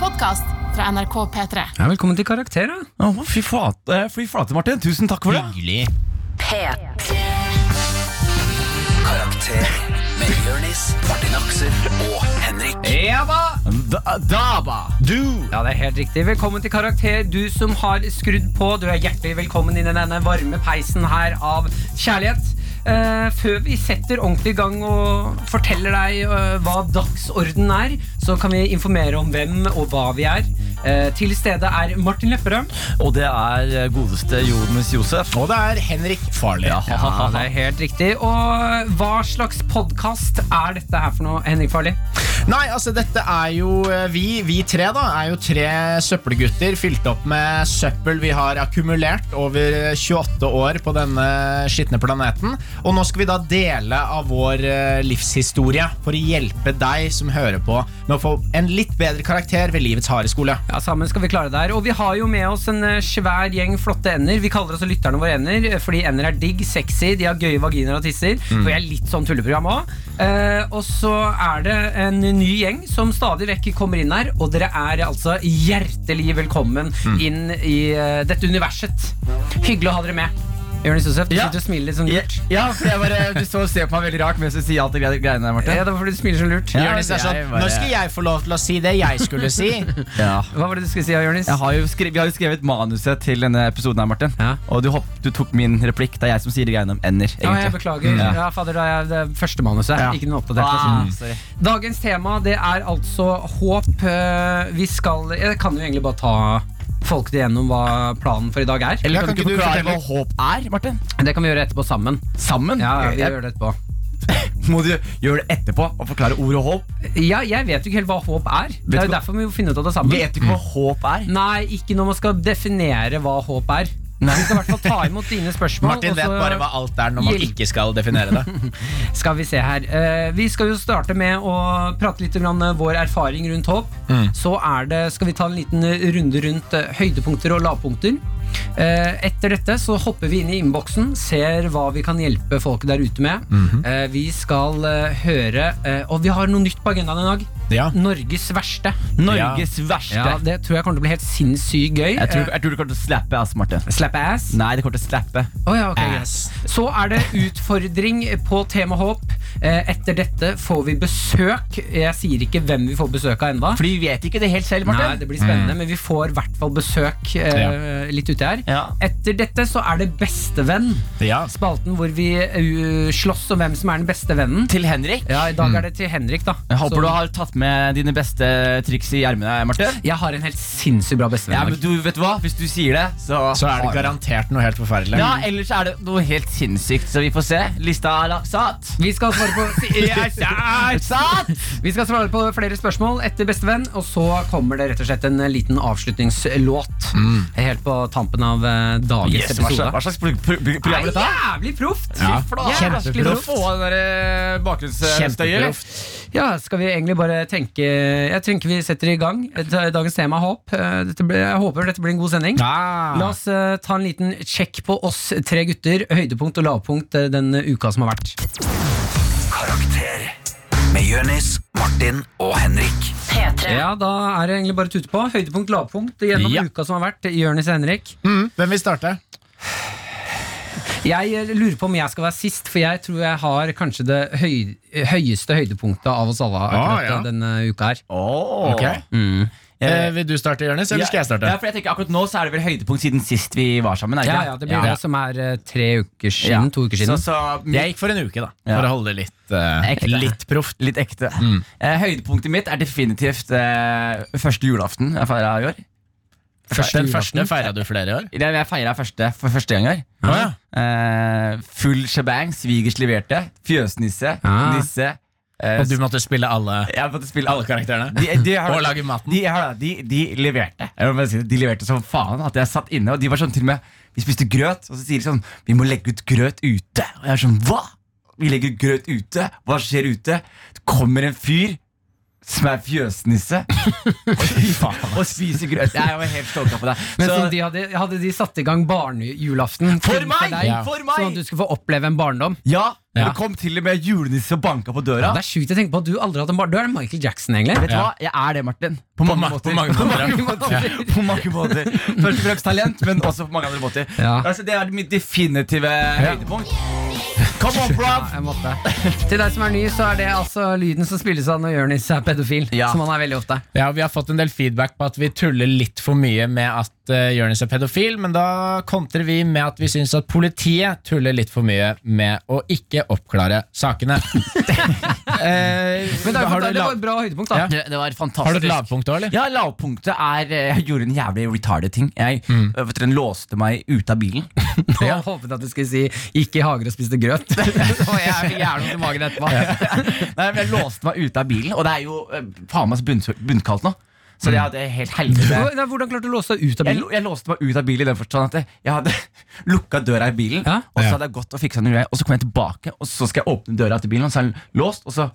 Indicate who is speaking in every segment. Speaker 1: podkast fra NRK P3.
Speaker 2: Ja, velkommen til Karakter, da.
Speaker 3: Å, fy, flate, fy flate, Martin. Tusen takk for det.
Speaker 2: Hyggelig.
Speaker 4: Karakter med Jørnis, Martin Aksel og Henrik.
Speaker 2: Ja da!
Speaker 3: Da- Daba. Du.
Speaker 2: Ja, det er helt riktig. Velkommen til Karakter, du som har skrudd på. Du er hjertelig velkommen inn i denne varme peisen her av kjærlighet. Eh, før vi setter ordentlig i gang og forteller deg eh, hva dagsorden er, så kan vi informere om hvem og hva vi er. Eh, til stede er Martin Lepperød.
Speaker 3: Og det er eh, godeste Jonas Josef. Og det er Henrik Farley. Ja, ha, ha,
Speaker 2: Ja, det
Speaker 3: ha.
Speaker 2: er helt riktig. Og hva slags podkast er dette her for noe, Henrik Farli?
Speaker 5: Nei, altså dette er jo eh, vi, vi tre da er jo tre søppelgutter fylt opp med søppel vi har akkumulert over 28 år på denne skitne planeten. Og nå skal vi da dele av vår eh, livshistorie for å hjelpe deg som hører på med å få en litt bedre karakter ved livets harde skole.
Speaker 2: Ja, sammen skal vi klare det her. Og vi har jo med oss en eh, svær gjeng flotte ender. Vi kaller også lytterne våre ender, eh, fordi ender er digg, sexy, de har gøye vaginaer og tisser.
Speaker 6: Mm.
Speaker 2: For jeg er litt sånn tulleprogram òg. Eh, og så er det en ny gjeng som stadig vekk kommer inn her, og dere er altså hjertelig velkommen
Speaker 6: Mm.
Speaker 2: inn i eh, dette universet. Hyggelig å ha dere med. Jonis Josef, du
Speaker 6: Ja.
Speaker 2: sitter og smiler litt sånn
Speaker 6: Ja,
Speaker 2: lurt.
Speaker 6: ja, for jeg bare, du står og ser på meg veldig rart mens du sier alt det gre- greiene der, Martin.
Speaker 2: Ja, det var fordi du smiler sånn lurt.
Speaker 6: Ja.
Speaker 5: Jonis er sånn,
Speaker 6: jeg bare-
Speaker 5: Nå skal jeg få lov til å si det jeg skulle si.
Speaker 6: Ja.
Speaker 2: Hva var det du skulle si, Jonis?
Speaker 6: Jeg har jo skrevet, vi har jo skrevet manuset til denne episoden her, Martin.
Speaker 2: Ja.
Speaker 6: Og du, hopp, du tok min replikk. Det er jeg som sier de greiene om ender.
Speaker 2: Ja, jeg
Speaker 6: egentlig.
Speaker 2: beklager.
Speaker 6: Ja.
Speaker 2: Ja, fader, da er jeg det første manuset.
Speaker 6: Ja.
Speaker 2: Ikke den oppdaterte.
Speaker 6: Ah,
Speaker 2: versjonen.
Speaker 6: sorry.
Speaker 2: Dagens tema det er altså håp. Eh, Vi skal Jeg kan jo egentlig bare ta folket igjennom hva planen for i dag er.
Speaker 6: Eller
Speaker 5: Ja,
Speaker 6: kan,
Speaker 5: kan
Speaker 6: du
Speaker 5: ikke du
Speaker 6: forklare hva
Speaker 5: fortelle-
Speaker 6: håp er, Martin?
Speaker 2: Det kan vi gjøre etterpå sammen.
Speaker 6: Sammen?
Speaker 2: Ja, vi
Speaker 6: Jeg-
Speaker 2: gjør det etterpå
Speaker 6: Må du gjøre det etterpå og forklare ordet håp?
Speaker 2: Ja, Jeg vet jo ikke helt hva håp er. Det er
Speaker 6: du
Speaker 2: jo
Speaker 6: hva-
Speaker 2: derfor vi må finne ut av det sammen.
Speaker 6: Vet du ikke hva
Speaker 3: Mm.
Speaker 6: håp er?
Speaker 2: Nei, ikke når man skal definere hva håp er. Vi skal i hvert fall ta imot dine spørsmål.
Speaker 5: Martin
Speaker 2: og
Speaker 5: vet
Speaker 2: så-
Speaker 5: bare hva alt er når man
Speaker 2: Hjelp.
Speaker 5: ikke skal definere det.
Speaker 2: Skal vi se her Eh, Vi skal jo starte med å prate litt om vår erfaring rundt håp.
Speaker 6: Mm.
Speaker 2: Så er det, skal vi ta en liten runde rundt eh, høydepunkter og lavpunkter. Eh, Etter dette så hopper vi inn i innboksen, ser hva vi kan hjelpe folket der ute med.
Speaker 6: Mhm.
Speaker 2: Eh, Vi skal eh, høre eh, Og vi har noe nytt på agendaen i dag.
Speaker 5: Ja.
Speaker 2: Norges verste.
Speaker 6: Norges verste.
Speaker 2: Ja, det tror jeg kommer til å bli helt sinnssykt gøy.
Speaker 6: Jeg, tror,
Speaker 2: Eh,
Speaker 6: jeg tror du kommer til å slappe, ass, Martin.
Speaker 2: Slap ass.
Speaker 6: Nei, det kommer til å slappe.
Speaker 2: Å ja, ok, greit.
Speaker 5: Ass.
Speaker 2: Så er det utfordring på tema håp. Eh, Etter dette får vi besøk. Jeg sier ikke hvem vi får besøk av Mm. ennå.
Speaker 6: Fordi vi vet ikke det helt selv, Martin.
Speaker 2: Nei, det blir spennende, men vi får i hvert fall besøk eh, litt uti her.
Speaker 6: Ja.
Speaker 2: Etter dette så er det Bestevenn,
Speaker 5: Ja.
Speaker 2: spalten hvor vi eh, slåss om hvem som er den beste vennen.
Speaker 6: Til Henrik.
Speaker 2: Ja, I dag er det til Henrik, da.
Speaker 6: Jeg håper
Speaker 2: Så-
Speaker 6: du har tatt med dine beste triks i ermene, Martin.
Speaker 2: jeg har en helt sinnssykt bra
Speaker 6: Ja,
Speaker 2: bestevenn. i
Speaker 6: men
Speaker 2: dag.
Speaker 6: du vet du hva, Hvis du sier det, så,
Speaker 5: Så er det garantert noe helt forferdelig.
Speaker 6: Ja, Ellers er det noe helt sinnssykt, så vi får se. Lista er la- satt.
Speaker 2: vi skal svare på
Speaker 6: Satt!
Speaker 2: Vi skal svare på flere spørsmål etter bestevenn, og så kommer det rett og slett en eh, liten avslutningslåt helt på tampen av eh, dagens
Speaker 6: Yes, hva
Speaker 2: episode.
Speaker 6: slags, hva slags pro- pro- pro-
Speaker 2: Det
Speaker 6: program
Speaker 2: er
Speaker 6: er dette?
Speaker 2: jævlig proft!
Speaker 5: Ja.
Speaker 2: Jævlig
Speaker 5: Kjempeproft.
Speaker 2: proft.
Speaker 6: den der eh, bakgrunnsstøyet.
Speaker 5: Kjempeproft.
Speaker 2: Ja, skal vi egentlig bare tenke Jeg tenker vi setter i gang. Et- Dagens tema er håp. Eh, Dette ble, jeg håper dette blir en god sending.
Speaker 5: Ah.
Speaker 2: La oss eh, ta en liten sjekk på oss tre gutter. Høydepunkt og lavpunkt eh, den uka som har vært.
Speaker 4: Karakter med Jørnis, Martin og Henrik.
Speaker 2: Ja, Da er det egentlig bare å tute på. Høydepunkt, lavpunkt gjennom
Speaker 5: Ja.
Speaker 2: uka som har vært. Jonis og Henrik.
Speaker 5: Mm, hvem vil starte?
Speaker 2: Jeg eh, lurer på om jeg skal være sist, for jeg tror jeg har kanskje det høy, høyeste høydepunktet av oss
Speaker 6: Ah,
Speaker 2: alle akkurat
Speaker 5: ja.
Speaker 2: eh, denne uka her.
Speaker 6: Oh.
Speaker 5: Ok. Eh, vil du starte, Jonis, eller skal jeg starte?
Speaker 6: Ja, for jeg tenker Akkurat nå så er det vel høydepunkt siden sist vi var sammen. er det
Speaker 2: Ja,
Speaker 6: ikke
Speaker 2: ja, Det blir
Speaker 5: Ja.
Speaker 2: det som er eh, tre uker siden,
Speaker 6: Ja.
Speaker 2: to uker siden.
Speaker 6: Så, så,
Speaker 5: Jeg gikk for en uke, da.
Speaker 6: Ja.
Speaker 5: For å holde det litt, eh,
Speaker 6: Ekte.
Speaker 5: litt proft.
Speaker 6: Litt ekte. Eh, høydepunktet mitt er definitivt eh, første julaften jeg feira i år.
Speaker 5: Den
Speaker 2: julaften.
Speaker 5: første feira du flere i år?
Speaker 6: Det jeg feira første for første gang i år.
Speaker 5: Ja.
Speaker 6: Eh, full shebang. Svigers leverte. Fjøsnisse.
Speaker 2: Ah.
Speaker 6: Nisse. Eh,
Speaker 5: Og du måtte spille alle,
Speaker 6: jeg måtte spille
Speaker 5: alle karakterene?
Speaker 6: De, de, har-
Speaker 5: Og lage maten.
Speaker 6: De, har- de, de leverte. Jeg må bare si det, De leverte som faen. At jeg satt inne, og de var sånn til og med Vi spiste grøt, og så sier de sånn Vi må legge ut grøt ute. Og jeg er sånn Hva? Vi legger ut grøt ute. Hva skjer ute? Det kommer en fyr som er fjøsnisse,
Speaker 5: Fy faen.
Speaker 6: og spiser grøt. Nei, Jeg var helt stalka på deg.
Speaker 2: Men
Speaker 6: Så-
Speaker 2: sånn, de hadde, hadde de satt i gang barnejulaften
Speaker 6: For
Speaker 2: til-
Speaker 6: meg!
Speaker 2: deg,
Speaker 6: Ja. For meg!
Speaker 2: Sånn at du skulle få oppleve en barndom?
Speaker 6: ja,
Speaker 2: Ja.
Speaker 6: Det kom til og med julenisse og banka på døra.
Speaker 2: Det er sjukt å tenke på at du aldri har hatt en barndom. Du er Michael Jackson, egentlig.
Speaker 6: Vet du hva? Jeg er det, Martin. På mange
Speaker 5: ma-
Speaker 6: måter.
Speaker 5: på mange måter,
Speaker 6: måter. På mange måter. Først og fremst talent, men også på mange andre måter.
Speaker 2: Ja.
Speaker 6: Altså, det er mitt definitive høydepunkt. Come on, bruv!
Speaker 2: Jeg måtte. Til deg som er ny, så er det altså lyden som spilles av når Jonis er pedofil.
Speaker 6: Ja.
Speaker 2: Som han er veldig ofte.
Speaker 5: Ja, Vi har fått en del feedback på at vi tuller litt for mye med at uh, Jonis er pedofil, men da kontrer vi med at vi syns at politiet tuller litt for mye med å ikke oppklare sakene. Eh,
Speaker 2: Men det, er jo
Speaker 5: har,
Speaker 2: fant-
Speaker 5: du
Speaker 2: det
Speaker 5: la-
Speaker 2: var et bra høydepunkt, da.
Speaker 5: Ja.
Speaker 6: Det, det var fantastisk.
Speaker 5: har du et lavpunkt òg, eller?
Speaker 6: Ja, lavpunktet er eh, Jeg gjorde en jævlig retarded ting. Jeg mm. vet dere, låste meg ute av bilen.
Speaker 2: Og jeg håpet at du skulle si 'gikk i hager og spiste grøt'. og jeg fikk gjerne vondt i magen etterpå.
Speaker 6: Nei, men Jeg låste meg ute av bilen, og det er jo eh, faen meg så bunn, bunnkaldt nå. Så det hadde helt helvete.
Speaker 2: Hvor- nei, Hvordan klarte du å låse deg ut av
Speaker 6: Jeg,
Speaker 2: bilen?
Speaker 6: lo- jeg låste meg ut av bilen i den forstand at jeg hadde lukka døra i bilen.
Speaker 2: Ja.
Speaker 6: Og så hadde jeg gått og fiksa noe greier, og så kom jeg tilbake, og så skal jeg åpne døra til bilen, og så er den låst, og så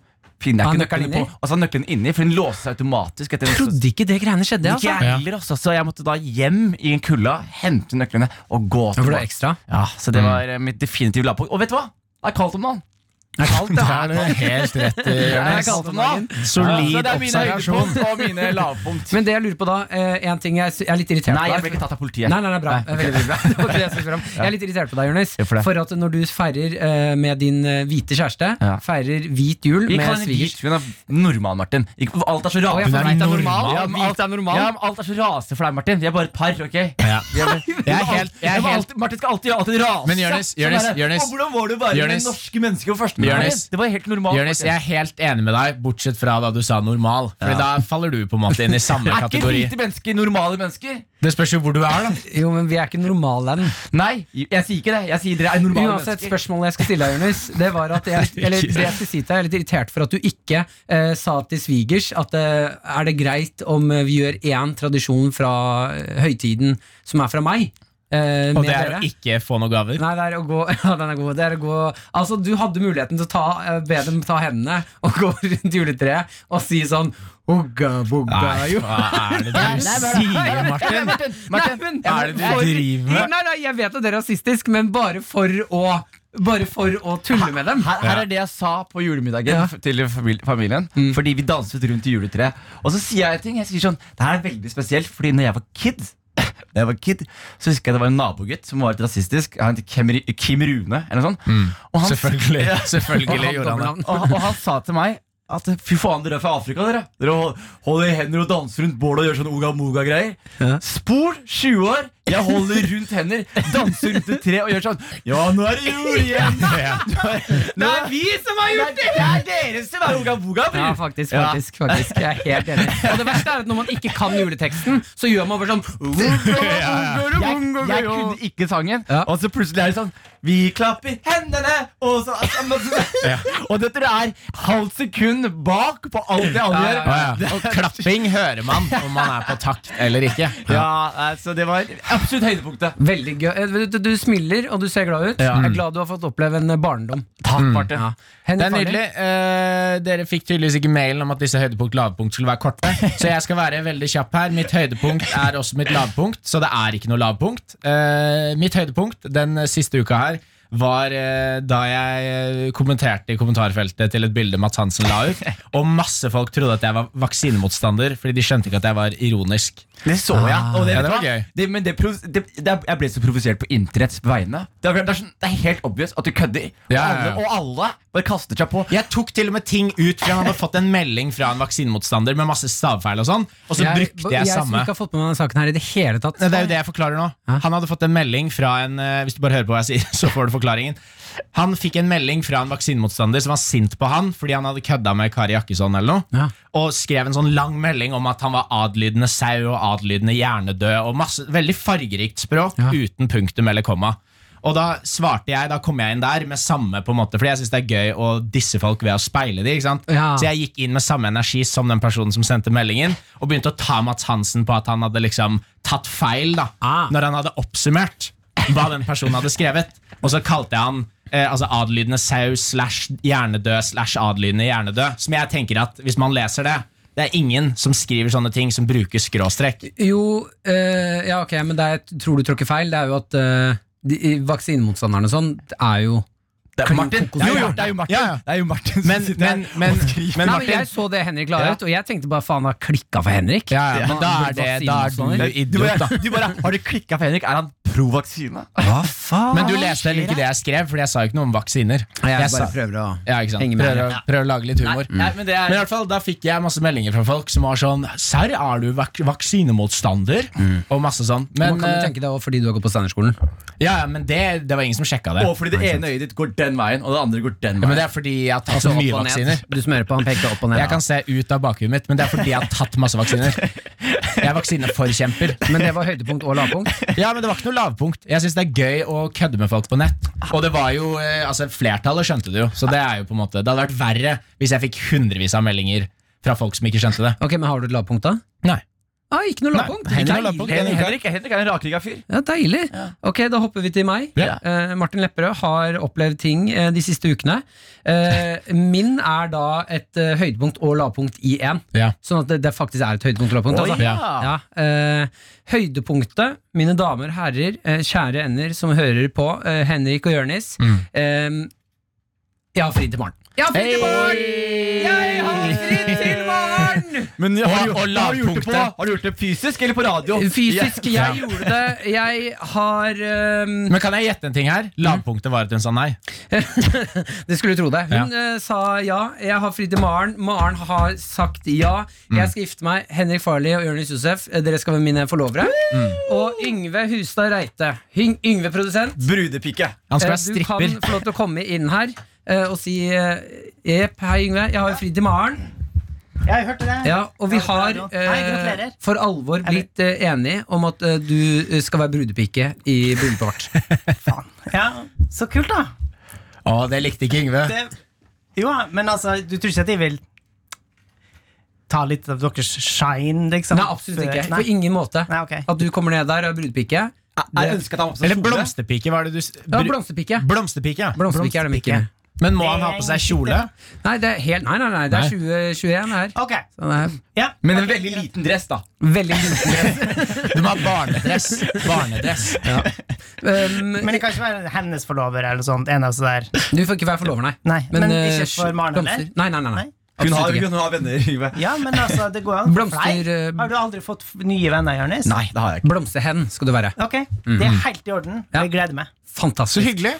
Speaker 6: finner
Speaker 2: Ah,
Speaker 6: jeg ikke
Speaker 2: nøkkelen
Speaker 6: nøkkelen på.
Speaker 2: inni?
Speaker 6: Og så er nøkkelen inni, for den låser seg automatisk. Etter
Speaker 2: Jeg trodde ikke det greiene skjedde.
Speaker 6: ikke
Speaker 2: altså
Speaker 6: jeg heller, altså. Så jeg måtte da hjem i en kulda, hente nøklene og gå
Speaker 2: Ja, for det er
Speaker 6: tilbake.
Speaker 2: ekstra.
Speaker 6: Ja, så det var eh, mitt definitive lavpunkt. Og vet du hva? Det er kaldt om dagen. Det er kaldt, det
Speaker 5: Da er
Speaker 6: er
Speaker 5: du helt rett, eh,
Speaker 6: Det er
Speaker 5: Jonis.
Speaker 6: kaldt om dagen.
Speaker 5: Solid
Speaker 6: Så det er mine
Speaker 5: observasjon.
Speaker 6: høydepunkt og mine lavpunkt.
Speaker 2: Men det jeg lurer på da, eh, en ting jeg, sy- jeg er litt irritert
Speaker 6: Nei,
Speaker 2: på
Speaker 6: jeg ble
Speaker 2: deg.
Speaker 6: ikke tatt av politiet.
Speaker 2: Nei, nei, nei, bra.
Speaker 6: Nei, ok.
Speaker 2: Veldig, veldig bra. Det var det jeg skulle spørre om. Jeg er litt irritert på deg, Jonis.
Speaker 6: Hvorfor det?
Speaker 2: For at når du feirer eh, med din eh, hvite kjæreste,
Speaker 6: Ja.
Speaker 2: feirer hvit jul
Speaker 6: Vi
Speaker 2: med
Speaker 6: kaller henne
Speaker 2: svigers
Speaker 6: hvit. Hun er normal, Martin. Ikke, alt er så
Speaker 2: Å,
Speaker 6: rart.
Speaker 2: jeg får vite at normal.
Speaker 6: Ja, men alt,
Speaker 2: Hvit er normal.
Speaker 6: ja, men alt er så rasende for deg, Martin. Vi er bare et par, ok? Vi er bare-
Speaker 5: Jeg er helt, jeg
Speaker 6: Ja,
Speaker 5: er
Speaker 6: men
Speaker 5: helt
Speaker 6: alltid, Martin skal alltid, alltid rase.
Speaker 5: Men Jonis,
Speaker 6: Sånn
Speaker 5: Jonis,
Speaker 6: er det.
Speaker 5: Jonis.
Speaker 6: Og Hvordan var du bare
Speaker 5: Jonis.
Speaker 6: med norske mennesker på første Martin?
Speaker 5: Jonis.
Speaker 6: Det var helt normalt.
Speaker 5: Jonis,
Speaker 6: Martin.
Speaker 5: jeg er helt enig med deg, bortsett fra da du sa normal. Fordi Da faller du på en måte inn i samme
Speaker 6: er ikke
Speaker 5: kategori.
Speaker 6: hvite mennesker normale mennesker?
Speaker 5: Det spørs jo hvor du er, da.
Speaker 2: Jo, men vi er ikke normalland.
Speaker 6: Nei, jeg sier ikke det. Jeg sier dere er normale
Speaker 2: Uansett,
Speaker 6: mennesker.
Speaker 2: spørsmålet jeg skal stille deg, Jonis, det var at jeg, eller, det jeg, skal si til deg, jeg er litt irritert for at du ikke eh, sa til svigers at eh, er det greit om eh, vi gjør én tradisjon fra eh, høytiden som er fra meg, eh,
Speaker 5: Og
Speaker 2: med
Speaker 5: det er
Speaker 2: dere?
Speaker 5: å ikke få noen gaver.
Speaker 2: Nei, det er å gå Ja, den er god. Det er å gå Altså, du hadde muligheten til å ta, eh, be dem ta hendene og gå rundt juletreet og si sånn Ogga, bogga,
Speaker 5: Nei,
Speaker 2: jo.
Speaker 5: hva er det du sier, Martin?
Speaker 2: Martin,
Speaker 5: hva er det du driver med?
Speaker 2: Nei, nei, jeg vet at det er rasistisk, men bare for å Bare for å tulle med dem.
Speaker 6: Her, her er det jeg sa på julemiddagen
Speaker 2: Ja.
Speaker 6: f- til famil- familien.
Speaker 5: Mm.
Speaker 6: Fordi vi danset rundt i juletreet. Og så sier jeg ting. Jeg sier sånn Det her er veldig spesielt, fordi når jeg var kid da jeg var kid, så husker jeg det var en nabogutt som var litt rasistisk. Han het Kim, Ri- Kim Rune. eller noe sånt og, han,
Speaker 5: Mm. Selvfølgelig, selvfølgelig
Speaker 2: Han
Speaker 5: gjorde han det.
Speaker 2: dobbeltnavn.
Speaker 6: og, han- og han sa til meg at fy faen, dere er fra Afrika, dere. Dere hold- holder i hender og danser rundt bålet og gjør sånn oga-moga-greier. Spol, 20 år, jeg holder rundt hender, danser rundt et tre og gjør sånn Ja, nå er det jul igjen!
Speaker 2: Det er vi som har gjort det!
Speaker 6: Det er dere som er Oga Boga, bror!
Speaker 2: Ja, faktisk. faktisk, faktisk Jeg er helt enig. Og det verste er at når man ikke kan juleteksten, så gjør man bare sånn
Speaker 6: Jeg, jeg kunne ikke sangen,
Speaker 2: Ja.
Speaker 6: og så plutselig er det sånn Vi klapper hendene! Og, så, altså, men så- og dette er halvt sekund bak på alt det alle
Speaker 2: Ja,
Speaker 6: gjør.
Speaker 2: ja,
Speaker 5: Å, ja. Og klapping hører man om man er på takt eller ikke.
Speaker 6: Ja, altså, det var absolutt høydepunktet.
Speaker 2: Veldig gøy. Eh, Du, du smiler, og du ser glad ut. Jeg er glad du har fått oppleve en eh, barndom.
Speaker 6: Takk, Martin.
Speaker 2: Ja.
Speaker 5: Det
Speaker 2: Henrik
Speaker 5: er
Speaker 2: Farley?
Speaker 5: nydelig. Eh, dere fikk tydeligvis ikke mailen om at disse høydepunkt lavpunkt skulle være korte, så jeg skal være veldig kjapp her. Mitt høydepunkt er også mitt lavpunkt, så det er ikke noe lavpunkt. Eh, mitt høydepunkt den siste uka her var eh, da jeg eh, kommenterte i kommentarfeltet til et bilde Mats Hansen la ut, og masse folk trodde at jeg var vaksinemotstander, fordi de skjønte ikke at jeg var ironisk.
Speaker 6: Det så jeg. Ah, Og det,
Speaker 5: Ja,
Speaker 6: vet du
Speaker 5: det var
Speaker 6: hva?
Speaker 5: gøy.
Speaker 6: Det, men det, provos- det, det, jeg ble så provosert på internetts vegne. Det er, det, er sånn, det er helt obvious at du kødder.
Speaker 5: Ja, ja, ja.
Speaker 6: Og, alle, og alle bare kaster seg på.
Speaker 5: Jeg tok til og med ting ut, for jeg hadde fått en melding fra en vaksinemotstander med masse stavfeil og sånn, og så brukte jeg
Speaker 2: som
Speaker 5: samme.
Speaker 2: ikke har fått med meg denne saken her i det hele tatt.
Speaker 5: Nei, det er jo det jeg forklarer nå. Han hadde fått en melding fra en eh, Hvis du bare hører på hva jeg sier, så får du forklaringen. Han fikk en melding fra en vaksinemotstander som var sint på han fordi han hadde kødda med Kari Jakkesson eller noe,
Speaker 2: Ja.
Speaker 5: og skrev en sånn lang melding om at han var adlydende sau og adlydende hjernedød og masse Veldig fargerikt språk
Speaker 2: Ja.
Speaker 5: uten punktum eller komma. Og da svarte jeg, da kom jeg inn der med samme på en måte Fordi jeg syns det er gøy å disse folk ved å speile de, ikke sant?
Speaker 2: Ja.
Speaker 5: Så jeg jeg gikk inn med samme energi som den personen som sendte meldingen, og begynte å ta Mats Hansen på at han hadde liksom tatt feil da,
Speaker 2: Ah.
Speaker 5: når han hadde oppsummert hva den personen hadde skrevet. Og så kalte jeg han eh, altså adlydende sau slash hjernedød slash adlydende hjernedød, som jeg tenker at hvis man leser det, Det er ingen som skriver sånne ting som bruker skråstrek.
Speaker 2: Jo, eh, ja ok, men det er, tror du tråkker feil. Det er jo at eh, de, i- vaksinemotstanderne og sånn er jo
Speaker 6: Det er jo
Speaker 2: Klin
Speaker 6: Martin!
Speaker 2: kokos-
Speaker 6: Jo, jo, det er jo Martin,
Speaker 5: Ja, ja.
Speaker 6: Det er jo Martin som
Speaker 5: Men,
Speaker 6: sitter
Speaker 5: men,
Speaker 6: her
Speaker 5: men,
Speaker 6: og skriver.
Speaker 5: men
Speaker 2: Nei, men
Speaker 5: Martin
Speaker 2: jeg så det Henrik la ut, og jeg tenkte bare faen, har klikka for Henrik?
Speaker 5: ja, ja, men sånn. da er det da er du
Speaker 2: Vaksinemotstander.
Speaker 6: du
Speaker 5: idiot, da.
Speaker 6: bare, du bare, Har du klikka for Henrik? Er han pro vaksine?
Speaker 2: Hva faen?
Speaker 5: Men du leste heller ikke det jeg skrev, Fordi jeg sa jo ikke noe om vaksiner.
Speaker 2: Jeg
Speaker 5: sa,
Speaker 2: bare prøver å
Speaker 5: ja, ikke sant?
Speaker 2: henge med
Speaker 5: Prøver, å- prøver å lage litt humor.
Speaker 6: Nei, men det er
Speaker 5: Men i hvert fall, Da fikk jeg masse meldinger fra folk som var sånn Serr, er du vak vaksinemotstander? Og masse sånn. Men,
Speaker 2: Man kan jo
Speaker 5: eh,
Speaker 2: tenke det også fordi du har gått på Steinerskolen.
Speaker 5: ja, ja, men det, det var ingen som sjekka det.
Speaker 6: Og fordi det ene øyet ditt går den veien, og det andre går den
Speaker 5: Ja, men
Speaker 6: veien.
Speaker 5: Det er fordi jeg har tatt så Altså, mye vaksiner.
Speaker 2: Du smører på, han pekte opp og ned.
Speaker 5: Jeg kan se ut av bakhuet mitt, men det er fordi jeg har tatt masse vaksiner. Jeg er vaksineforkjemper.
Speaker 2: Men det var høydepunkt og lavpunkt.
Speaker 5: Ja, men det var ikke noe lavpunkt. Jeg syns det er gøy å kødde med folk på nett. Og det var jo, eh, altså flertallet skjønte det jo, så det er jo på en måte Det hadde vært verre hvis jeg fikk hundrevis av meldinger fra folk som ikke skjønte det.
Speaker 2: Ok, men Har du et lavpunkt, da?
Speaker 5: Nei.
Speaker 2: Ah, ikke noe
Speaker 5: Nei,
Speaker 2: lavpunkt.
Speaker 5: Henrik har
Speaker 2: Deilig.
Speaker 5: lavpunkt.
Speaker 6: Henrik, Henrik, Henrik er en rakrygga fyr.
Speaker 2: Ja, Deilig. Ok, Da hopper vi til meg.
Speaker 5: Ja.
Speaker 2: Eh, Martin Lepperød har opplevd ting eh, de siste ukene. Eh, min er da et eh, høydepunkt og lavpunkt i én.
Speaker 5: Ja.
Speaker 2: Sånn at det, det faktisk er et høydepunkt og lavpunkt.
Speaker 6: Oi,
Speaker 2: altså.
Speaker 6: ja.
Speaker 2: Ja, eh, høydepunktet, mine damer, herrer, eh, kjære ender som hører på, eh, Henrik og Jørnis eh, Jeg har fri til morgen. Jeg har fri til morgen! Jeg har fri til morgen!
Speaker 6: Men ja, har,
Speaker 5: Og-
Speaker 6: du, gjort-
Speaker 5: og
Speaker 6: har, du gjort det på,
Speaker 5: lavpunktet.
Speaker 6: har du gjort det fysisk eller på radio?
Speaker 2: Fysisk, jeg
Speaker 5: Ja.
Speaker 2: gjorde det. Jeg har eh,
Speaker 5: Men kan jeg gjette en ting her? Lavpunktet var at hun sa nei.
Speaker 2: Det skulle du tro det. Hun eh, sa ja. Jeg har fri til Maren. Maren har sagt ja. Jeg skal gifte meg. Henrik Farley og Jonis Josef, eh, dere skal være mine forlovere. Og Yngve Hustad Reite. Hyng- Yngve produsent.
Speaker 6: Brudepike.
Speaker 5: Han skal
Speaker 2: eh, Du
Speaker 5: være
Speaker 2: kan
Speaker 5: stripper.
Speaker 2: få lov til å komme inn her eh, og si eh, Jepp, hei Yngve, jeg har jo fri til Maren.
Speaker 7: Jeg hørte det.
Speaker 2: Ja, og vi
Speaker 7: Ja,
Speaker 2: har
Speaker 7: bra.
Speaker 2: eh,
Speaker 7: Hei, gratulerer.
Speaker 2: for alvor blitt eh, enige om at eh, du skal være brudepike i bryllupet vårt.
Speaker 7: Faen. Ja, så kult, da.
Speaker 5: Å, det likte ikke Yngve.
Speaker 7: Det, jo, men altså, du tror ikke at jeg vil ta litt av deres shine, liksom?
Speaker 2: Nei, absolutt ikke.
Speaker 7: Nei.
Speaker 2: På ingen måte.
Speaker 7: Nei, ok.
Speaker 2: At du kommer ned der og er brudepike.
Speaker 6: Jeg ønsker at han var på
Speaker 5: Eller
Speaker 6: skole.
Speaker 5: blomsterpike, var det du s-
Speaker 2: Ja,
Speaker 5: bru-
Speaker 2: blomsterpike.
Speaker 5: Blomsterpike, ja.
Speaker 2: Blomsterpike er det ikke.
Speaker 5: Men må han ha på seg kjole?
Speaker 2: Nei, det er helt, nei, nei, nei, det er 2021 her.
Speaker 7: Ok.
Speaker 2: Så det er
Speaker 7: Ja.
Speaker 6: Men en veldig liten dress, da.
Speaker 2: veldig liten
Speaker 5: Du må ha barnedress. Barnedress.
Speaker 2: um,
Speaker 7: Men det kan ikke være hennes forlover eller sånt. En av sånne der.
Speaker 2: Du får ikke være forlover, nei.
Speaker 7: Nei, men
Speaker 2: eh,
Speaker 7: ikke for Maren,
Speaker 2: blomster-
Speaker 7: eller?
Speaker 2: Nei, nei, nei. nei.
Speaker 7: Nei.
Speaker 6: Hun
Speaker 2: Absolutt
Speaker 6: har,
Speaker 2: ikke.
Speaker 6: hun har venner. Yngve.
Speaker 7: Ja, men altså, det går an.
Speaker 2: Blomster,
Speaker 7: Nei.
Speaker 2: eh,
Speaker 7: Har du aldri fått f- nye venner, Jonis?
Speaker 6: Nei, det har jeg ikke.
Speaker 2: Blomsterhen skal du være.
Speaker 7: Ok, Det er helt i orden.
Speaker 2: Ja.
Speaker 7: Jeg gleder meg.
Speaker 5: Så
Speaker 2: Fantastisk.
Speaker 5: hyggelig.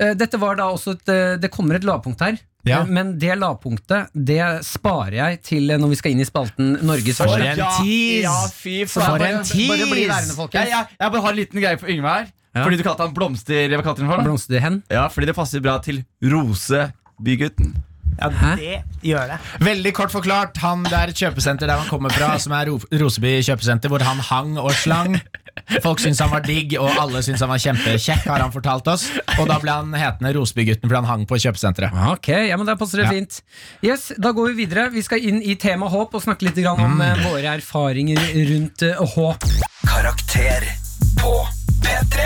Speaker 2: Eh, Dette var da også et eh, Det kommer et lavpunkt her.
Speaker 5: Ja.
Speaker 2: Eh, Men det lavpunktet Det sparer jeg til eh, når vi skal inn i spalten Norges
Speaker 5: For
Speaker 2: verste.
Speaker 5: en tease!
Speaker 6: Ja, fy
Speaker 5: For
Speaker 6: flate.
Speaker 5: en
Speaker 2: Bare bli
Speaker 5: tease!
Speaker 2: værende,
Speaker 6: Jeg,
Speaker 2: folkens.
Speaker 6: jeg, jeg bare har en liten greie for Yngve her.
Speaker 2: Ja.
Speaker 6: Fordi du kalte han blomster... Hva kalte du den for? da?
Speaker 2: Blomsterhen.
Speaker 6: Ja, fordi det passer bra til Rosebygutten.
Speaker 7: Ja,
Speaker 2: Hæ?
Speaker 7: Det gjør det.
Speaker 5: Veldig kort forklart, han det er et kjøpesenter der han kommer fra, som er Ro Roseby kjøpesenter, hvor han hang og slang. Folk syntes han var digg, og alle syntes han var kjempekjekk, har han fortalt oss. Og da ble han hetende Rosebygutten fordi han hang på kjøpesenteret.
Speaker 2: Ok, ja, men Da passer det
Speaker 5: Ja.
Speaker 2: fint. Yes, Da går vi videre. Vi skal inn i tema håp og snakke litt grann om
Speaker 5: Mm.
Speaker 2: eh, våre erfaringer rundt eh, håp.
Speaker 4: Karakter på P3.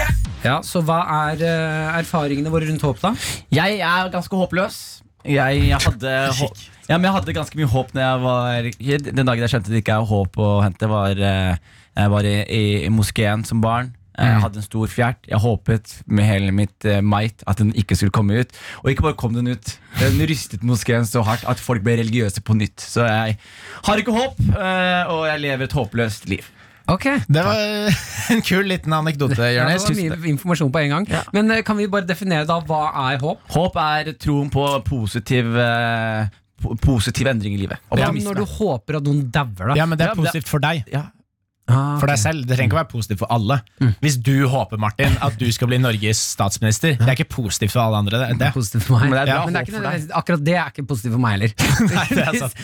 Speaker 2: Ja, Så hva er eh, erfaringene våre rundt håp, da?
Speaker 6: Jeg er ganske håpløs. Jeg, jeg, hadde, hå- ja, men jeg hadde ganske mye håp når jeg var kid. Den dagen jeg skjønte det ikke er håp å hente, var eh, jeg var i, i, i moskeen som barn.
Speaker 2: Mm.
Speaker 6: Jeg hadde en stor fjert. Jeg håpet med hele mitt eh, might at den ikke skulle komme ut. Og ikke bare kom den ut. Den rystet moskeen så hardt at folk ble religiøse på nytt. Så jeg har ikke håp, eh, og jeg lever et håpløst liv.
Speaker 2: Ok
Speaker 5: Det var en kul liten anekdote,
Speaker 2: ja, det
Speaker 5: Jonis.
Speaker 2: var mye informasjon på en gang. Men eh, kan vi bare definere da hva er håp?
Speaker 6: Håp er troen på positiv, eh, po positiv endring i livet.
Speaker 2: Ja,
Speaker 6: Optimisme.
Speaker 2: når du håper at noen dauer, da.
Speaker 5: Ja, men det er positivt for deg.
Speaker 6: Ja.
Speaker 2: Ah,
Speaker 5: For deg selv. Det trenger ikke å være positivt for alle. Hvis du håper, Martin, at du skal bli Norges statsminister, det er ikke positivt for alle andre. Det, det.
Speaker 2: positivt for meg.
Speaker 6: Men det er
Speaker 2: ja,
Speaker 6: bra
Speaker 2: men det er
Speaker 6: håp
Speaker 2: ikke
Speaker 6: for deg.
Speaker 2: nødvendigvis- akkurat det er ikke positivt for meg heller. Nei,
Speaker 5: det er sant.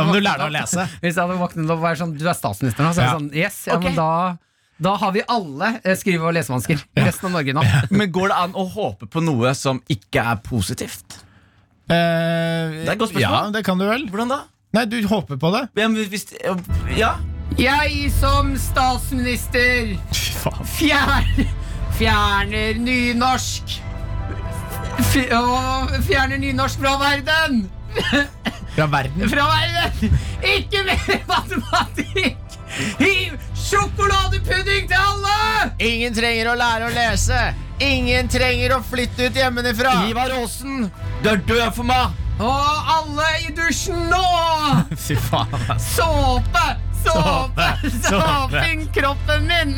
Speaker 5: Da må du lære deg å lese.
Speaker 2: Hvis jeg hadde våknet opp og vært sånn Du er statsminister nå, så er det
Speaker 5: Ja.
Speaker 2: sånn Yes, ja,
Speaker 6: Ok.
Speaker 2: men da da har vi alle eh, skrive- og lesevansker. Resten av Norge nå.
Speaker 6: Men går det an å håpe på noe som ikke er positivt?
Speaker 5: Eh,
Speaker 6: Det er et godt spørsmål.
Speaker 5: Ja, det kan du vel.
Speaker 6: Hvordan da?
Speaker 5: Nei, du håper på det.
Speaker 6: Ja, men hvis, ja.
Speaker 2: Jeg som statsminister fjer, fjerner nynorsk F og fjerner nynorsk fra verden!
Speaker 5: Fra verden.
Speaker 2: Fra verden! Ikke mer matematikk! Hiv sjokoladepudding til alle!
Speaker 5: Ingen trenger å lære å lese. Ingen trenger å flytte ut hjemmefra.
Speaker 6: Ivar Aasen, du er død for meg!
Speaker 2: Og alle i dusjen nå!
Speaker 5: Fy faen.
Speaker 2: Såpe! Såpe!
Speaker 5: Såpe, såpe.
Speaker 2: Såping kroppen min!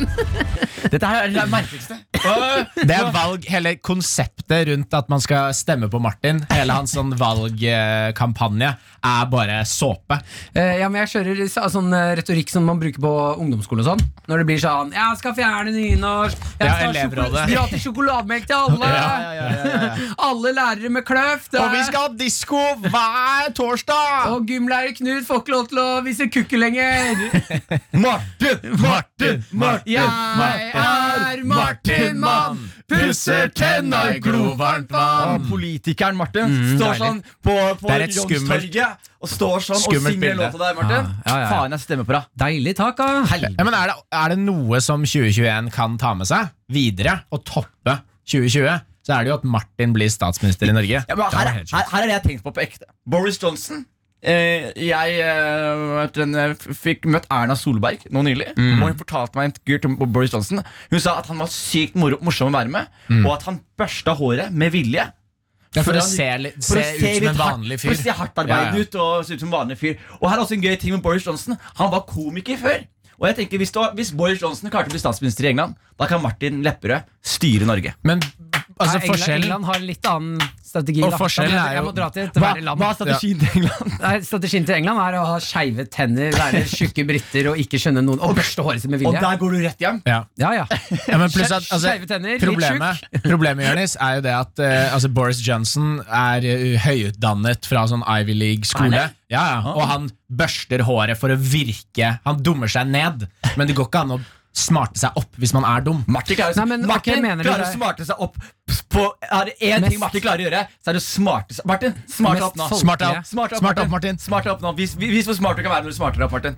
Speaker 6: Dette her er det merkeligste.
Speaker 5: Det er valg, hele konseptet rundt at man skal stemme på Martin, hele hans sånn valgkampanje, er bare såpe.
Speaker 2: Eh, ja, men jeg kjører så- sånn eh, retorikk som man bruker på ungdomsskolen og sånn. Når det blir sånn Jeg skal fjerne nynorsk. Jeg skal
Speaker 5: Ja,
Speaker 2: ha
Speaker 5: elevrådet.
Speaker 2: sjoko- gratis sjokolademelk til alle.
Speaker 5: ja.
Speaker 2: Alle lærere med kløft. eh.
Speaker 5: Og vi skal ha disko hver torsdag!
Speaker 2: Og gymlærer Knut får ikke lov til å vise kukke lenger.
Speaker 6: Martin, Martin, Martin.
Speaker 2: Jeg er Martin Mann.
Speaker 6: Pusser tenna i glovarmt vann. Politikeren Martin står sånn på, på
Speaker 5: Det er et skummelt-
Speaker 6: Youngstorget og står sånn og
Speaker 5: skummelt
Speaker 6: synger
Speaker 5: bilde.
Speaker 6: låta der, Martin.
Speaker 3: Ja, ja, ja.
Speaker 6: Faen, jeg stemmer på deg.
Speaker 2: Deilig takk, da.
Speaker 5: Ja, men er det, er det noe som 2021 kan ta med seg videre og toppe 2020, så er det jo at Martin blir statsminister i Norge.
Speaker 6: Ja, men
Speaker 5: Det er
Speaker 6: her,
Speaker 5: helt
Speaker 6: her, her er det jeg tenkte på på ekte. Boris Johnson. Eh, jeg eh, etter den, eh, f- fikk møtt Erna Solberg nå nylig. Og Hun fortalte meg en intervju om Boris Johnson Hun sa at han var sykt moro, morsom å være med, og at han børsta håret med vilje.
Speaker 5: Ja, for,
Speaker 6: For
Speaker 5: å
Speaker 6: han-
Speaker 5: se, li-
Speaker 6: For å
Speaker 5: se ut som
Speaker 6: litt
Speaker 5: en
Speaker 6: hardt-
Speaker 5: vanlig
Speaker 6: For
Speaker 5: fyr.
Speaker 6: å se hardtarbeidende
Speaker 5: Ja, ja.
Speaker 6: ut og se ut som en vanlig fyr. Og her er også en gøy ting med Boris Johnson. Han var komiker før. Og jeg tenker, Hvis, det var, hvis Boris Johnson klarte å bli statsminister i England, da kan Martin Lepperød styre Norge.
Speaker 5: Men altså,
Speaker 2: England,
Speaker 5: forskjellen
Speaker 2: England har en litt annen strategi.
Speaker 5: Og
Speaker 2: da. Da
Speaker 5: forskjellen
Speaker 2: må jeg-
Speaker 5: er
Speaker 2: Jeg
Speaker 5: jo-
Speaker 2: må dra til et verre land.
Speaker 6: Hva er strategien til England?
Speaker 2: Nei, strategien til England er å ha skeive tenner, være tjukke briter og ikke skjønne noen Og børste håret sitt med
Speaker 6: Og
Speaker 2: vilje.
Speaker 6: der går du rett hjem.
Speaker 5: ja.
Speaker 2: Ja, ja.
Speaker 5: Ja, men pluss at, altså,
Speaker 2: Skeive tenner, litt
Speaker 5: problemet, problemet Jonis, er jo det at eh, altså Boris Johnson er eh, høyutdannet fra sånn Ivy League-skole. Ja, ja, og han børster håret for å virke Han dummer seg ned, men det går ikke an å smarte seg opp hvis man er dum.
Speaker 6: Martin klarer,
Speaker 2: Nei, men, ok,
Speaker 6: Martin
Speaker 2: mener du
Speaker 6: klarer å
Speaker 2: det-
Speaker 6: smarte seg opp på Er det én
Speaker 2: Mest-
Speaker 6: ting Martin klarer å gjøre, så er det å smarte seg Martin, smart deg
Speaker 2: Mest
Speaker 6: opp nå.
Speaker 2: folkelige.
Speaker 5: Smart deg opp,
Speaker 6: Smart deg opp,
Speaker 5: smart deg opp,
Speaker 6: Martin.
Speaker 5: Martin.
Speaker 6: Smart deg opp nå. Vis, vis hvor smart du kan være når du smarter deg opp, Martin.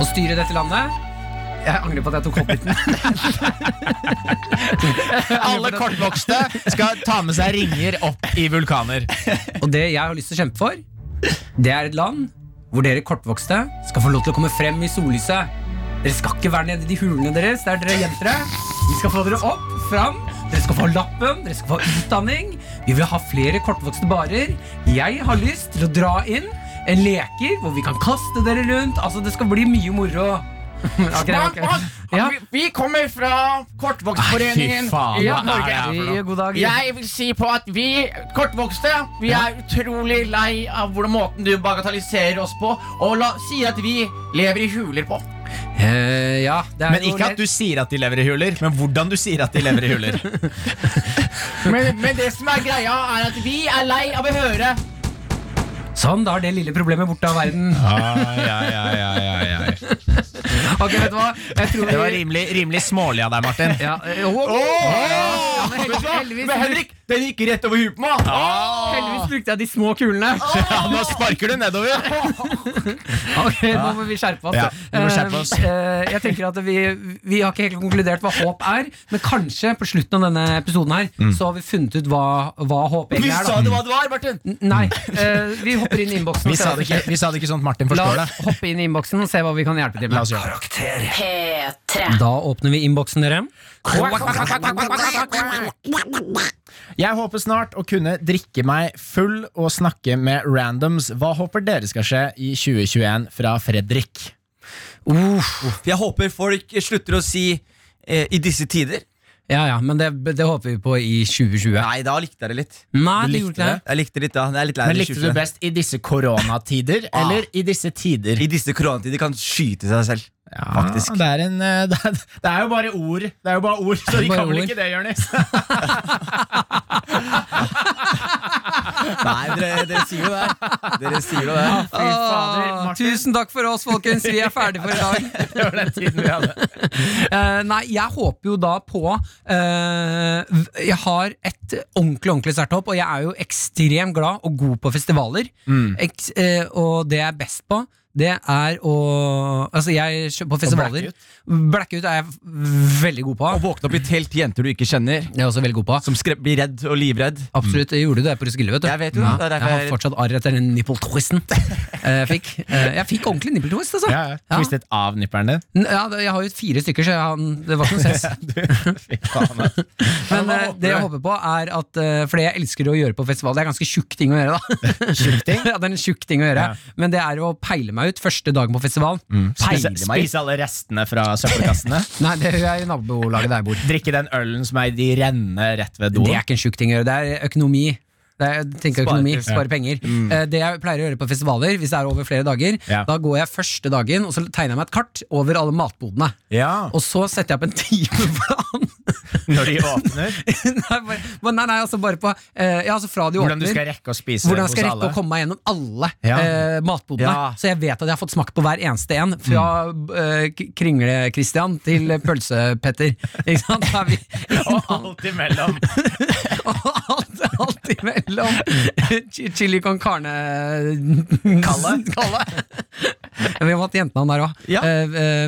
Speaker 2: Å styre dette landet Jeg angrer på at jeg tok hobbiten.
Speaker 5: Alle kortvokste skal ta med seg ringer opp i vulkaner.
Speaker 2: Og det jeg har lyst til å kjempe for, det er et land hvor dere kortvokste skal få lov til å komme frem i sollyset. Dere skal ikke være nede i de hulene deres der dere gjemte dere. Vi skal få dere opp, fram. Dere skal få lappen, dere skal få utdanning. Vi vil ha flere kortvokste barer. Jeg har lyst til å dra inn en leker hvor vi kan kaste dere rundt. Altså, det skal bli mye moro. Ok, ok. Ja.
Speaker 6: altså, Vi kommer fra
Speaker 5: Kortvokstforeningen. Nei, fy faen,
Speaker 2: Ja,
Speaker 5: hva er det her for noe?
Speaker 2: Norge. God dag.
Speaker 6: Jeg vil si på at vi kortvokste Vi er utrolig lei av hvordan måten du bagatelliserer oss på, og la, sier at vi lever i huler på.
Speaker 2: Eh, ja, det er
Speaker 5: Men
Speaker 2: jo
Speaker 5: ikke
Speaker 2: litt-
Speaker 5: at du sier at de lever i huler, men hvordan du sier at de lever i huler.
Speaker 6: Men, men det som er greia, er at vi er lei av å høre
Speaker 2: Sånn, da er det lille problemet borte av verden. Ok, vet du hva? Jeg tror vi...
Speaker 5: Det var rimelig, rimelig smålig av deg, Martin.
Speaker 2: Ja, eh, oh, Ja, men hel- heldigvis,
Speaker 6: den gikk rett over huet på meg!
Speaker 2: heldigvis brukte jeg de små kulene.
Speaker 5: Ja, nå sparker du nedover.
Speaker 2: Ok, Nå må vi skjerpe oss.
Speaker 5: Ja, vi må skjerpe oss.
Speaker 2: Eh, eh, Jeg tenker at vi, vi har ikke helt konkludert hva håp er, men kanskje på slutten av denne episoden her
Speaker 5: Mm.
Speaker 2: Så har vi funnet ut hva, hva håp
Speaker 6: Vi
Speaker 2: egentlig er.
Speaker 6: sa
Speaker 2: Da.
Speaker 6: det Mm. hva det var, Martin!
Speaker 2: Nei, eh, vi hopper inn i innboksen.
Speaker 5: Vi
Speaker 2: og ser
Speaker 5: sa
Speaker 2: hva
Speaker 5: det
Speaker 2: som
Speaker 5: ikke, vi sa det ikke sånn at Martin
Speaker 2: skjer. La
Speaker 5: forstår det.
Speaker 2: oss hoppe inn i innboksen og se hva vi kan hjelpe til
Speaker 5: La
Speaker 2: med.
Speaker 5: oss gjøre det.
Speaker 4: Karakter
Speaker 8: P3.
Speaker 2: Da åpner vi innboksen, dere.
Speaker 5: Jeg håper snart å kunne drikke meg full og snakke med randoms. Hva håper dere skal skje i 2021 fra Fredrik?
Speaker 6: Jeg håper folk slutter å si eh, 'i disse tider'.
Speaker 2: Ja, ja, men det, det håper vi på i 2020.
Speaker 6: Nei, da likte jeg det litt.
Speaker 2: Nei,
Speaker 5: Du
Speaker 2: du
Speaker 5: likte
Speaker 2: gjorde ikke det.
Speaker 6: Jeg likte det litt da. Jeg er litt lei av
Speaker 5: Men
Speaker 6: det
Speaker 5: likte du
Speaker 6: tjuete.
Speaker 5: best i disse koronatider eller i disse tider?
Speaker 6: I disse koronatider kan skyte seg selv. faktisk.
Speaker 5: Det er, en, eh, det, er, det er jo bare ord, Det er jo bare ord så de
Speaker 2: Bare
Speaker 5: kan vel
Speaker 2: ord.
Speaker 5: ikke det, Jonis?
Speaker 6: Nei, dere, dere sier jo det. Dere sier jo det.
Speaker 5: fader,
Speaker 2: Åh,
Speaker 5: Martin.
Speaker 2: tusen takk for oss, folkens. Vi er ferdige for i dag.
Speaker 5: Det var den tiden vi hadde.
Speaker 2: Eh, nei, jeg håper jo da på eh, v- Jeg har et ordentlig ordentlig sterkt håp, og
Speaker 6: Mm.
Speaker 2: jeg er jo ekstremt glad og god på festivaler. Eks- eh, og det jeg er best på, det er å Altså, jeg kjø- på festivaler
Speaker 3: blacke
Speaker 2: Blacke ut er jeg v- veldig god på.
Speaker 6: Å våkne opp i et helt jenter du ikke kjenner,
Speaker 2: Det er jeg også veldig god på.
Speaker 6: som skre- blir redd og livredd.
Speaker 2: Absolutt. Jeg gjorde det på Roskilde, vet du.
Speaker 6: Jeg vet jo,
Speaker 2: Ja.
Speaker 6: det er
Speaker 2: jeg
Speaker 6: derfor
Speaker 2: har
Speaker 6: jeg-
Speaker 2: fortsatt arr etter den nippeltwisten jeg fikk. Eh, Jeg fikk ordentlig nippeltwist, altså.
Speaker 5: Ja, ja.
Speaker 2: Ja.
Speaker 5: Twistet av nipperen din.
Speaker 2: N- Ja, jeg har jo fire stykker, så jeg har, det var ikke noe sens.
Speaker 5: Fy faen, altså. ass.
Speaker 2: Men eh, det jeg håper på, er at eh, For det jeg elsker å gjøre på festival, det er ganske tjukk ting å gjøre, da. ja, det er en tjukk ting å gjøre. Men det er å peile meg ut første dagen på festival.
Speaker 5: Spise,
Speaker 2: Peile meg ut?
Speaker 5: Mm. spise alle restene fra søppelkassene.
Speaker 2: Nei, det gjør jeg i nabolaget der jeg bor.
Speaker 5: Drikke den ølen som er i de rennene rett ved
Speaker 2: Det
Speaker 5: doen.
Speaker 2: er ikke en tjukk ting å gjøre. Det er økonomi. Det er, jeg tenker økonomi,
Speaker 6: Spare-
Speaker 2: Spare penger. Eh, Det jeg pleier å gjøre på festivaler, hvis det er over flere dager,
Speaker 5: Mm. Ja.
Speaker 2: da går jeg første dagen og så tegner jeg meg et kart over alle matbodene.
Speaker 5: Ja,
Speaker 2: Og så setter jeg opp en timeplan.
Speaker 5: Når de åpner.
Speaker 2: nei, bare, men nei, nei, altså bare på eh, Ja, altså fra de
Speaker 5: Hvordan
Speaker 2: åpner
Speaker 5: du skal rekke å spise
Speaker 2: hvordan jeg
Speaker 5: hos
Speaker 2: skal rekke
Speaker 5: alle.
Speaker 2: å komme meg gjennom alle
Speaker 5: Ja.
Speaker 2: eh, matbodene.
Speaker 5: Ja. Mm.
Speaker 2: Så jeg vet at jeg har fått smak på hver eneste en. Fra eh, K- Kringle-Christian til eh, Pølse-Petter. Ikke sant? Da er vi
Speaker 5: Og alt imellom.
Speaker 2: og alt, alt imellom.
Speaker 5: Mm.
Speaker 2: Chi- Chili con carne Kalle. Vi har hatt jentenavn der òg.
Speaker 5: Ja.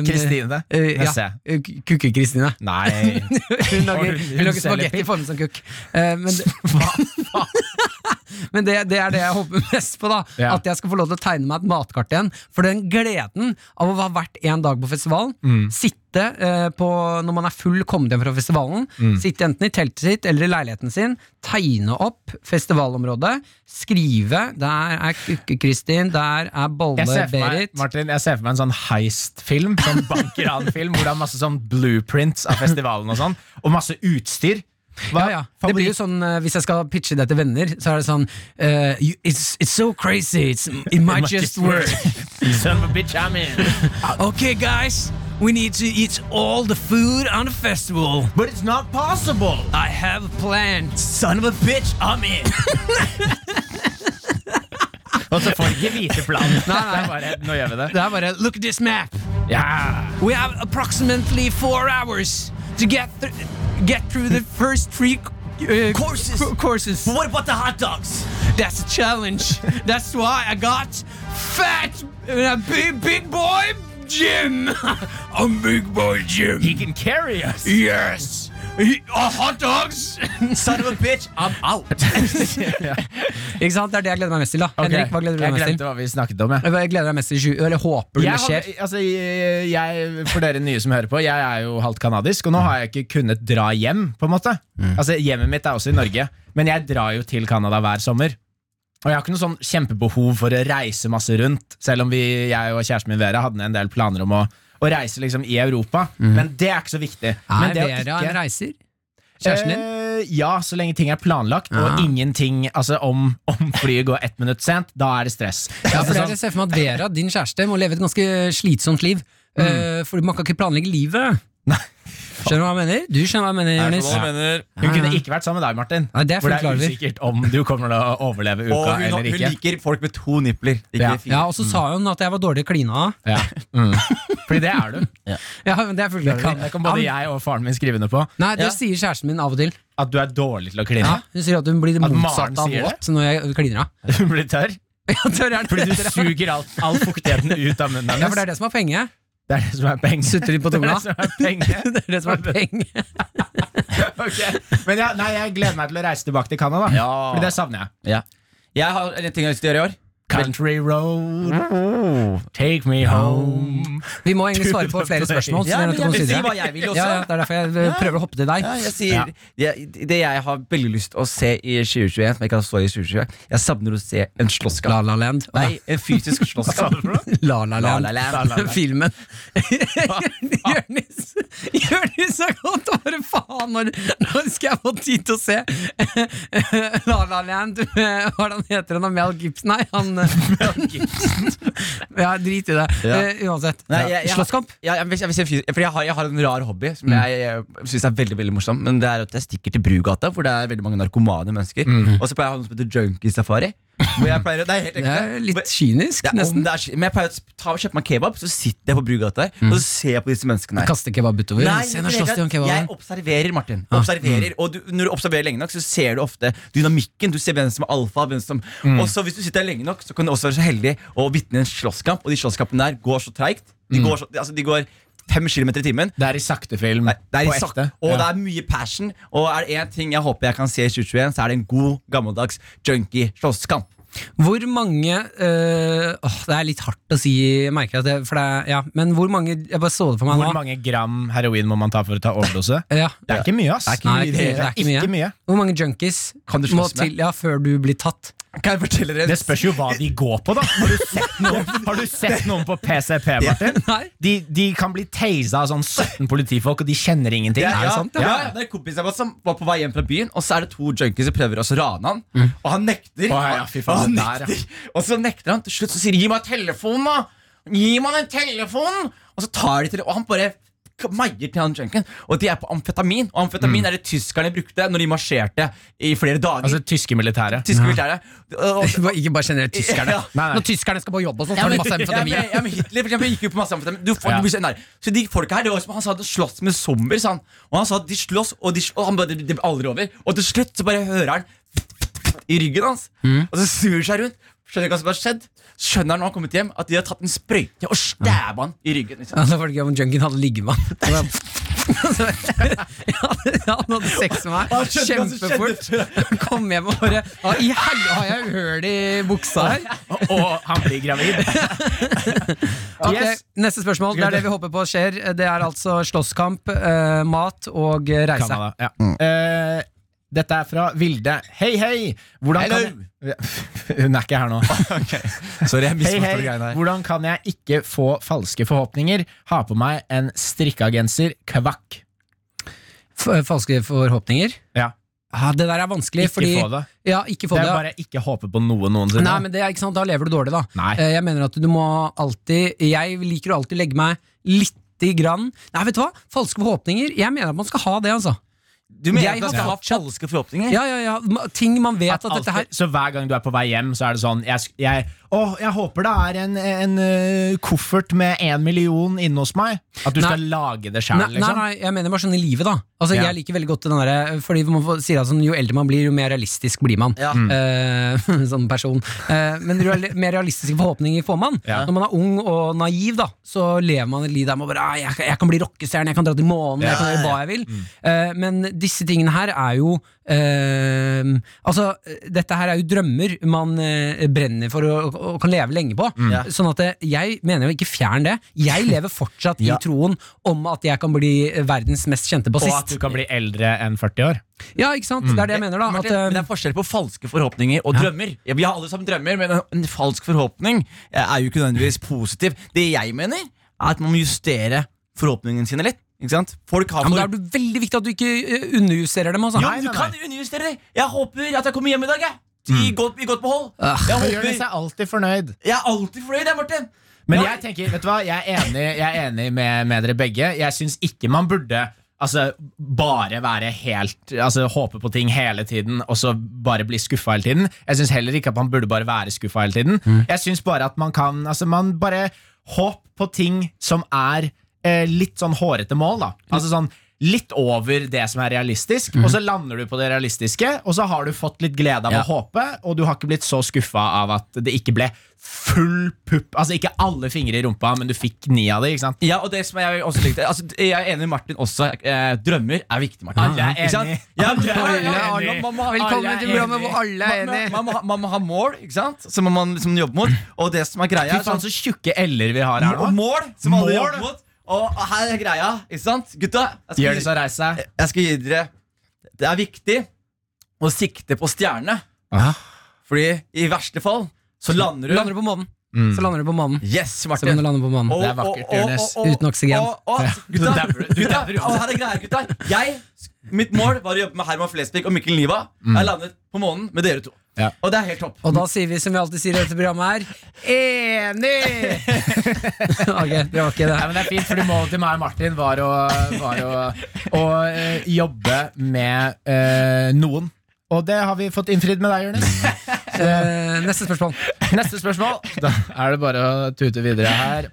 Speaker 5: Kristine.
Speaker 2: eh, ja. Eh,
Speaker 5: Nesse.
Speaker 2: Kukke-Kristine.
Speaker 5: Nei.
Speaker 2: Hun lager,
Speaker 5: Hun- hun
Speaker 2: hun lager
Speaker 5: selger
Speaker 2: spagetti
Speaker 5: pikk.
Speaker 2: formet som kukk. Eh, men det, men det, det er det jeg håper mest på. da
Speaker 5: Ja.
Speaker 2: At jeg skal få lov til å tegne meg et matkart igjen. For den gleden av å ha vært en dag på festival,
Speaker 5: Mm.
Speaker 2: sitte eh, på, når man er full kommet hjem fra festivalen,
Speaker 5: Mm.
Speaker 2: sitte enten i teltet sitt eller i leiligheten sin, tegne opp festivalområdet, skrive Der er Kukke-Kristin, der er
Speaker 5: Jeg ser, for meg,
Speaker 2: Bolle-Berit.
Speaker 5: Martin, jeg ser for meg en sånn heist-film, sånn bankeranfilm, hvor det er masse sånn blueprints av festivalen og sånn, og masse utstyr.
Speaker 2: Ja, ja. Det blir jo sånn, eh, Hvis jeg skal pitche det til venner, så er det sånn eh, you, it's, it's so crazy. It's, it might just work.
Speaker 5: Son of a bitch, I'm in.
Speaker 2: Okay, guys. We need to eat all the food on the festival.
Speaker 5: But it's not possible!
Speaker 2: I have a plan.
Speaker 5: Son of a bitch, I'm in! og så får de ikke vite planen. Det er bare, nå gjør vi det.
Speaker 2: Det er bare Look at this map.
Speaker 5: Ja.
Speaker 2: We have approximately four hours to get thr- get through the first three uh, courses. courses.
Speaker 6: What about the hot dogs?
Speaker 2: That's a challenge. That's why I got fat uh, big, big boy Jim. I'm big boy Jim.
Speaker 5: He can carry us!
Speaker 2: Yes. He, uh, hot dogs.
Speaker 6: Son of a bitch, I'm out.
Speaker 2: Ikke sant? Det er det jeg gleder meg mest til. da Henrik, hva gleder du
Speaker 5: jeg
Speaker 2: deg mest
Speaker 5: glemte
Speaker 2: til?
Speaker 5: hva vi snakket om, jeg.
Speaker 2: Hva gleder du deg mest til? i tjue- Eller håper du det
Speaker 5: Jeg,
Speaker 2: skjer?
Speaker 5: hadde, altså, jeg, jeg, for dere nye som hører på, jeg er jo halvt kanadisk, og nå har jeg ikke kunnet dra hjem. på en måte
Speaker 2: Mm.
Speaker 5: Altså Hjemmet mitt er også i Norge, men jeg drar jo til Canada hver sommer. Og jeg har ikke noe sånn kjempebehov for å reise masse rundt, selv om vi, jeg og kjæresten min Vera hadde en del planer om å, å reise liksom i Europa.
Speaker 2: Mm.
Speaker 5: Men det er ikke så viktig. men det å ikke-
Speaker 2: reiser? Kjæresten din?
Speaker 5: Eh, ja, så lenge ting er planlagt, og ingenting Altså om, om flyet går ett minutt sent, da er det stress.
Speaker 2: Ja,
Speaker 5: Altså,
Speaker 2: for
Speaker 5: sånn-
Speaker 2: jeg ser for meg at Vera, din kjæreste, må leve et ganske slitsomt liv. Eh, fordi man kan ikke planlegge livet. Skjønner du hva jeg mener? Du skjønner hva jeg mener, Jonis.
Speaker 6: Hva mener
Speaker 5: Hun
Speaker 2: Ja, ja.
Speaker 5: kunne ikke vært sammen med deg, Martin.
Speaker 2: Nei, det er
Speaker 5: hvor det
Speaker 2: fullt klar
Speaker 5: er
Speaker 2: over.
Speaker 5: usikkert om du kommer til å overleve uka
Speaker 6: Og hun,
Speaker 5: eller
Speaker 6: hun
Speaker 5: ikke.
Speaker 6: liker folk med to nipler. Ikke
Speaker 5: Ja.
Speaker 6: fire.
Speaker 2: Ja, og så sa hun at jeg var dårlig klina.
Speaker 5: Ja. Mm. Fordi det er du.
Speaker 2: Ja, men det er fullt
Speaker 5: Det kan,
Speaker 2: klar
Speaker 5: det kan
Speaker 2: over.
Speaker 5: både
Speaker 2: Ja,
Speaker 5: jeg og faren min skrive under på.
Speaker 2: men- Nei, det
Speaker 6: Ja.
Speaker 2: sier kjæresten min av og til.
Speaker 5: At du er dårlig til å kline.
Speaker 2: Ja, hun sier at hun blir det
Speaker 5: At Maren
Speaker 2: motsatte av
Speaker 5: sier det?
Speaker 2: våt når jeg kliner av.
Speaker 5: Du blir tørr
Speaker 2: Ja, tørr er
Speaker 5: fordi du
Speaker 2: det.
Speaker 5: suger alt, all fuktigheten ut av munnen
Speaker 2: Ja, for det er
Speaker 5: hennes.
Speaker 2: det som er penger.
Speaker 5: Det er det som er penger.
Speaker 2: Sutter litt på
Speaker 5: Det er
Speaker 2: tunga.
Speaker 5: det som er penger.
Speaker 2: Det er det som er penger.
Speaker 5: Ok. Men ja, nei, jeg gleder meg til å reise tilbake til Canada.
Speaker 6: Ja.
Speaker 5: Fordi det savner jeg.
Speaker 6: Ja. Jeg har en ting jeg har lyst til å gjøre i år.
Speaker 5: Country road, take me home.
Speaker 2: Vi må egentlig svare på flere spørsmål. så
Speaker 6: Ja,
Speaker 2: det er nødt
Speaker 6: men
Speaker 2: til å komme
Speaker 6: jeg vil si
Speaker 2: videre.
Speaker 6: hva jeg vil også.
Speaker 2: Ja, ja, det er derfor jeg eh, prøver å hoppe til deg.
Speaker 6: Ja, jeg sier, det, det jeg har veldig lyst til å se i 2021, som jeg ikke har så i 2020 Jeg savner å se en slåsskamp.
Speaker 2: La La Land.
Speaker 6: Nei, en fysisk slåsskamp.
Speaker 2: La La
Speaker 6: La
Speaker 2: Land.
Speaker 6: La Land.
Speaker 2: Filmen. Jonis Jonis har gått over faen når, når skal jeg få tid til å se La La Land med Hvordan heter han? Mel Gibson? Nei, han Mel Gibson. ja, drit i det.
Speaker 6: Ja.
Speaker 2: Eh, uansett.
Speaker 6: Nei, jeg- jeg-
Speaker 2: Slåsskamp?
Speaker 6: Ja, jeg, vil, jeg, vil se fysi- for jeg, har, jeg har en rar hobby som jeg, jeg syns er veldig veldig morsom. Men det er at Jeg stikker til Brugata, hvor det er veldig mange narkomane mennesker. Og så pleier jeg å ha noe som heter junkie-safari. Hvor jeg pleier, å- det er helt
Speaker 2: Mm. Det
Speaker 6: ekte.
Speaker 2: er litt kynisk,
Speaker 6: Det er, om
Speaker 2: nesten.
Speaker 6: det er, men jeg pleier å ta og kjøpe meg kebab, så sitter jeg på Brugata her
Speaker 2: Mm.
Speaker 6: og så ser jeg på disse menneskene. her
Speaker 2: Kaste kebab utover.
Speaker 6: Nei,
Speaker 2: Se,
Speaker 6: ikke
Speaker 2: nå
Speaker 6: i det
Speaker 2: slåss de om Ah, mm.
Speaker 6: hele tatt. jeg
Speaker 2: kebaben.
Speaker 6: observerer, Martin. Observerer, og du, når du observerer lenge nok, så ser du ofte dynamikken. Du ser hvem som er alfa. Hvem som,
Speaker 2: Mm.
Speaker 6: Og så Hvis du sitter her lenge nok, så kan du også være så heldig å vitne en slåsskamp. Og de slåsskampene der går så treigt. De,
Speaker 2: Mm.
Speaker 6: går så- altså, de går fem kilometer i timen.
Speaker 5: Det er i sakte film.
Speaker 6: Nei, det er
Speaker 5: på
Speaker 6: sakte,
Speaker 5: ekte.
Speaker 6: og
Speaker 5: Ja.
Speaker 6: det er mye passion. Og er det én ting jeg håper jeg kan se i 2021, så er det en god, gammeldags junkie-slåsskamp.
Speaker 2: Hvor mange eh, åh, Det er litt hardt å si, jeg merker at det, for det er, ja, men hvor mange Jeg bare så det for meg
Speaker 5: Hvor
Speaker 2: nå.
Speaker 5: mange gram heroin må man ta for å ta overdose?
Speaker 2: Ja.
Speaker 5: Det er ikke mye, ass.
Speaker 2: Nei, det er ikke- det er ikke
Speaker 5: Ikke mye.
Speaker 2: Hvor mange junkies
Speaker 6: Kan du
Speaker 2: må
Speaker 6: slåss med?
Speaker 2: til ja, før du blir tatt?
Speaker 6: Kan jeg fortelle dere
Speaker 5: Det spørs jo hva de går på, da. Har du sett noen, har du sett noen på PCP, Martin?
Speaker 2: Nei.
Speaker 5: De, de kan bli teisa av sånn 17 politifolk, og de kjenner ingenting.
Speaker 6: ja,
Speaker 5: Er det sant?
Speaker 6: Ja, ja, det er en kompis av oss som var på vei hjem fra byen, og så er det to junkies som prøver å så rane han. Og han nekter.
Speaker 5: Mm. ja, ja, fy faen,
Speaker 6: og, han
Speaker 5: det der, ja.
Speaker 6: nekter. og så nekter han til slutt, så sier de, gi meg telefonen, da! Gi meg den telefonen! Og så tar de til, og han bare meier til han junkien. Og de er på amfetamin, og amfetamin er det tyskerne brukte når de marsjerte i flere dager.
Speaker 5: Mm. Altså tyske militære.
Speaker 6: Tyske militære. Og- og-
Speaker 2: Ikke bare generelt tyskerne.
Speaker 6: Ja.
Speaker 5: Nei, nei.
Speaker 2: Når tyskerne skal på jobb og sånn,
Speaker 6: Ja,
Speaker 2: tar de
Speaker 6: men-
Speaker 2: masse amfetamin.
Speaker 6: Ja, men, ja, men Hitler for eksempel, gikk jo på masse amfetamin. Du, får-
Speaker 5: Ja.
Speaker 6: du blir så nær. Så de folka her, det var som Han sa at de slåss med zombier. Sa han. Og han sa at de slåss, og, de, sl- og han bare, det det blir aldri over. Og til slutt så bare hører han i ryggen hans, og så snur han seg rundt. Skjønner ikke hva som har skjedd Skjønner han når han har kommet hjem at de har tatt en sprøyte og stabba han i ryggen. Liksom.
Speaker 2: Ja, det var det gøy om junkien hadde ligget med han. Han hadde- han hadde sex med meg
Speaker 6: Han skjønte hva som skjedde.
Speaker 2: kjempefort. Kom hjem og bare «Ja, I helvete, har jeg hull i buksa her?
Speaker 5: Og han blir gravid.
Speaker 2: Ok,
Speaker 5: Yes.
Speaker 2: Neste spørsmål. Det er det vi håper på skjer. Det er altså slåsskamp, eh, mat og eh, reise.
Speaker 5: Canada. Ja. Eh, dette er fra Vilde. Hei, hei! Hvordan
Speaker 6: Hello.
Speaker 5: kan jeg... Hun er ikke her nå.
Speaker 6: Sorry, jeg
Speaker 5: Hei, hei! Hvordan kan jeg ikke få falske forhåpninger? Ha på meg en strikka genser. Kvakk.
Speaker 2: F- Falske forhåpninger?
Speaker 5: Ja.
Speaker 2: Ja, det der er vanskelig.
Speaker 5: Ikke
Speaker 2: fordi,
Speaker 5: få det.
Speaker 2: Ja, ikke få
Speaker 5: Det
Speaker 2: det.
Speaker 5: er
Speaker 2: ja.
Speaker 5: bare ikke håpe på noe noensinne.
Speaker 2: Nei, men det er ikke sant, Da lever du dårlig, da.
Speaker 5: Nei.
Speaker 2: Eh, Jeg mener at du må alltid Jeg liker å alltid legge meg lite grann Nei, vet du hva? Falske forhåpninger. Jeg mener at man skal ha det, altså.
Speaker 6: Du mener
Speaker 2: Jeg
Speaker 6: at man
Speaker 2: har
Speaker 6: skal ha
Speaker 2: fortsatt-
Speaker 6: falske forhåpninger?
Speaker 2: Ja, ja, ja. Ma- Ting man vet at,
Speaker 5: At
Speaker 2: dette her
Speaker 5: alltid- Så hver gang du er på vei hjem, så er det sånn Jeg, sk- jeg, å, jeg håper det er en, en eh, koffert med én million inne hos meg. At du
Speaker 2: Nei.
Speaker 5: skal lage det
Speaker 2: Nei,
Speaker 5: sjæl,
Speaker 2: nei,
Speaker 5: liksom.
Speaker 2: nei, jeg mener bare sånn i livet, da. Altså,
Speaker 5: Ja.
Speaker 2: Jeg liker veldig godt den derre Fordi man får, sier at sånn, jo eldre man blir, jo mer realistisk blir man.
Speaker 6: Ja.
Speaker 2: Eh, som person. Eh, men jo reali- mer realistiske forhåpninger får man.
Speaker 5: Ja.
Speaker 2: Når man er ung og naiv, da så lever man et liv der man bare «Ah, jeg, kan- jeg kan bli rockestjerne, jeg kan dra til månen, jeg kan gjøre hva jeg vil. Eh, men disse tingene her er jo eh, Altså, dette her er jo drømmer man eh, brenner for og, og kan leve lenge på.
Speaker 6: Ja.
Speaker 2: Sånn at eh, jeg mener jo ikke fjern det. Jeg lever fortsatt i troen om at jeg kan bli verdens mest kjente
Speaker 5: Og at
Speaker 2: bassist.
Speaker 5: du kan bli eldre enn 40 år.
Speaker 2: Ja, ikke sant? Det er det jeg mener, da.
Speaker 6: Martin,
Speaker 2: at, eh,
Speaker 6: men det er forskjell på falske forhåpninger og drømmer. Ja, vi har alle sammen drømmer, men en, en falsk forhåpning eh, er jo ikke nødvendigvis positiv. Det jeg mener, er at man må justere forhåpningene sine litt. Ikke sant? Folk har
Speaker 2: Ja, men
Speaker 6: for...
Speaker 2: Da er det veldig viktig at du ikke eh, underjusterer dem. Altså.
Speaker 6: Jo, du kan underjustere det! Jeg håper at jeg kommer hjem i dag, jeg.
Speaker 5: Mm.
Speaker 6: I godt, i godt behold. Jeg,
Speaker 5: Og
Speaker 6: håper,
Speaker 5: gjør seg alltid fornøyd.
Speaker 6: jeg er alltid fornøyd, jeg, Martin.
Speaker 5: Men
Speaker 6: Ja.
Speaker 5: jeg tenker, vet du hva, jeg er enig, jeg er enig med, med dere begge. Jeg syns ikke man burde altså, bare være helt Altså håpe på ting hele tiden og så bare bli skuffa hele tiden. Jeg syns heller ikke at man burde bare være skuffa hele tiden. Jeg syns bare at man kan Altså, man bare Håp på ting som er eh, litt sånn hårete mål, da. Altså sånn Litt over det som er realistisk, og så lander du på det realistiske. Og så har du fått litt glede av å håpe, og du har ikke blitt så skuffa av at det ikke ble full pupp. Altså ikke alle fingre i rumpa, men du fikk ni av det. ikke sant?
Speaker 6: Ja, og det som jeg også likte altså, Jeg er enig med Martin også. Eh, drømmer er viktig, Martin.
Speaker 5: Alle er
Speaker 6: Ikke sant?
Speaker 5: enig.
Speaker 6: Ja,
Speaker 5: Alle er
Speaker 6: ja, ja, ja,
Speaker 5: enig.
Speaker 6: ja, man må ha-
Speaker 5: Velkommen
Speaker 6: alle er
Speaker 5: til programmet
Speaker 6: enig.
Speaker 5: hvor
Speaker 2: alle er
Speaker 6: Man-
Speaker 2: enig.
Speaker 6: Man, man, må ha- man må ha mål, ikke sant? som man liksom jobber mot. Og det som er greia
Speaker 5: Fy
Speaker 6: er
Speaker 5: faen,
Speaker 6: sånn-
Speaker 5: så tjukke l-er vi har her
Speaker 6: Og
Speaker 5: nå.
Speaker 6: mål som alle
Speaker 5: Mål?
Speaker 6: jobber mot. Og og her er greia, ikke sant? Gutta, jeg
Speaker 5: Gjør det
Speaker 6: skal,
Speaker 5: så reis seg.
Speaker 6: gi- jeg skal gi dere Det er viktig å sikte på stjernene. Fordi i verste fall så lander du
Speaker 2: Lander du på månen, så lander du på månen.
Speaker 6: Yes,
Speaker 2: Så kan
Speaker 6: Martin.
Speaker 2: du lande på månen.
Speaker 5: Det er vakkert, Jonas.
Speaker 2: Uten oksygen.
Speaker 6: Og, og, gutta, gutta, og her er greia, gutta. Jeg, mitt mål var å jobbe med Herman Flesvig og Mikkel Niva. Jeg landet på månen med dere to.
Speaker 5: Ja.
Speaker 6: Og det er helt topp.
Speaker 2: Og da sier vi som vi alltid sier i dette programmet her Enig! ok, det var ikke det.
Speaker 5: Ja, men det er fint, fordi Målet til meg og Martin var å, var å, å eh, jobbe med eh, noen. Og det har vi fått innfridd med deg, Jonis.
Speaker 2: Eh, neste spørsmål.
Speaker 5: Neste spørsmål. Da er det bare å tute videre her.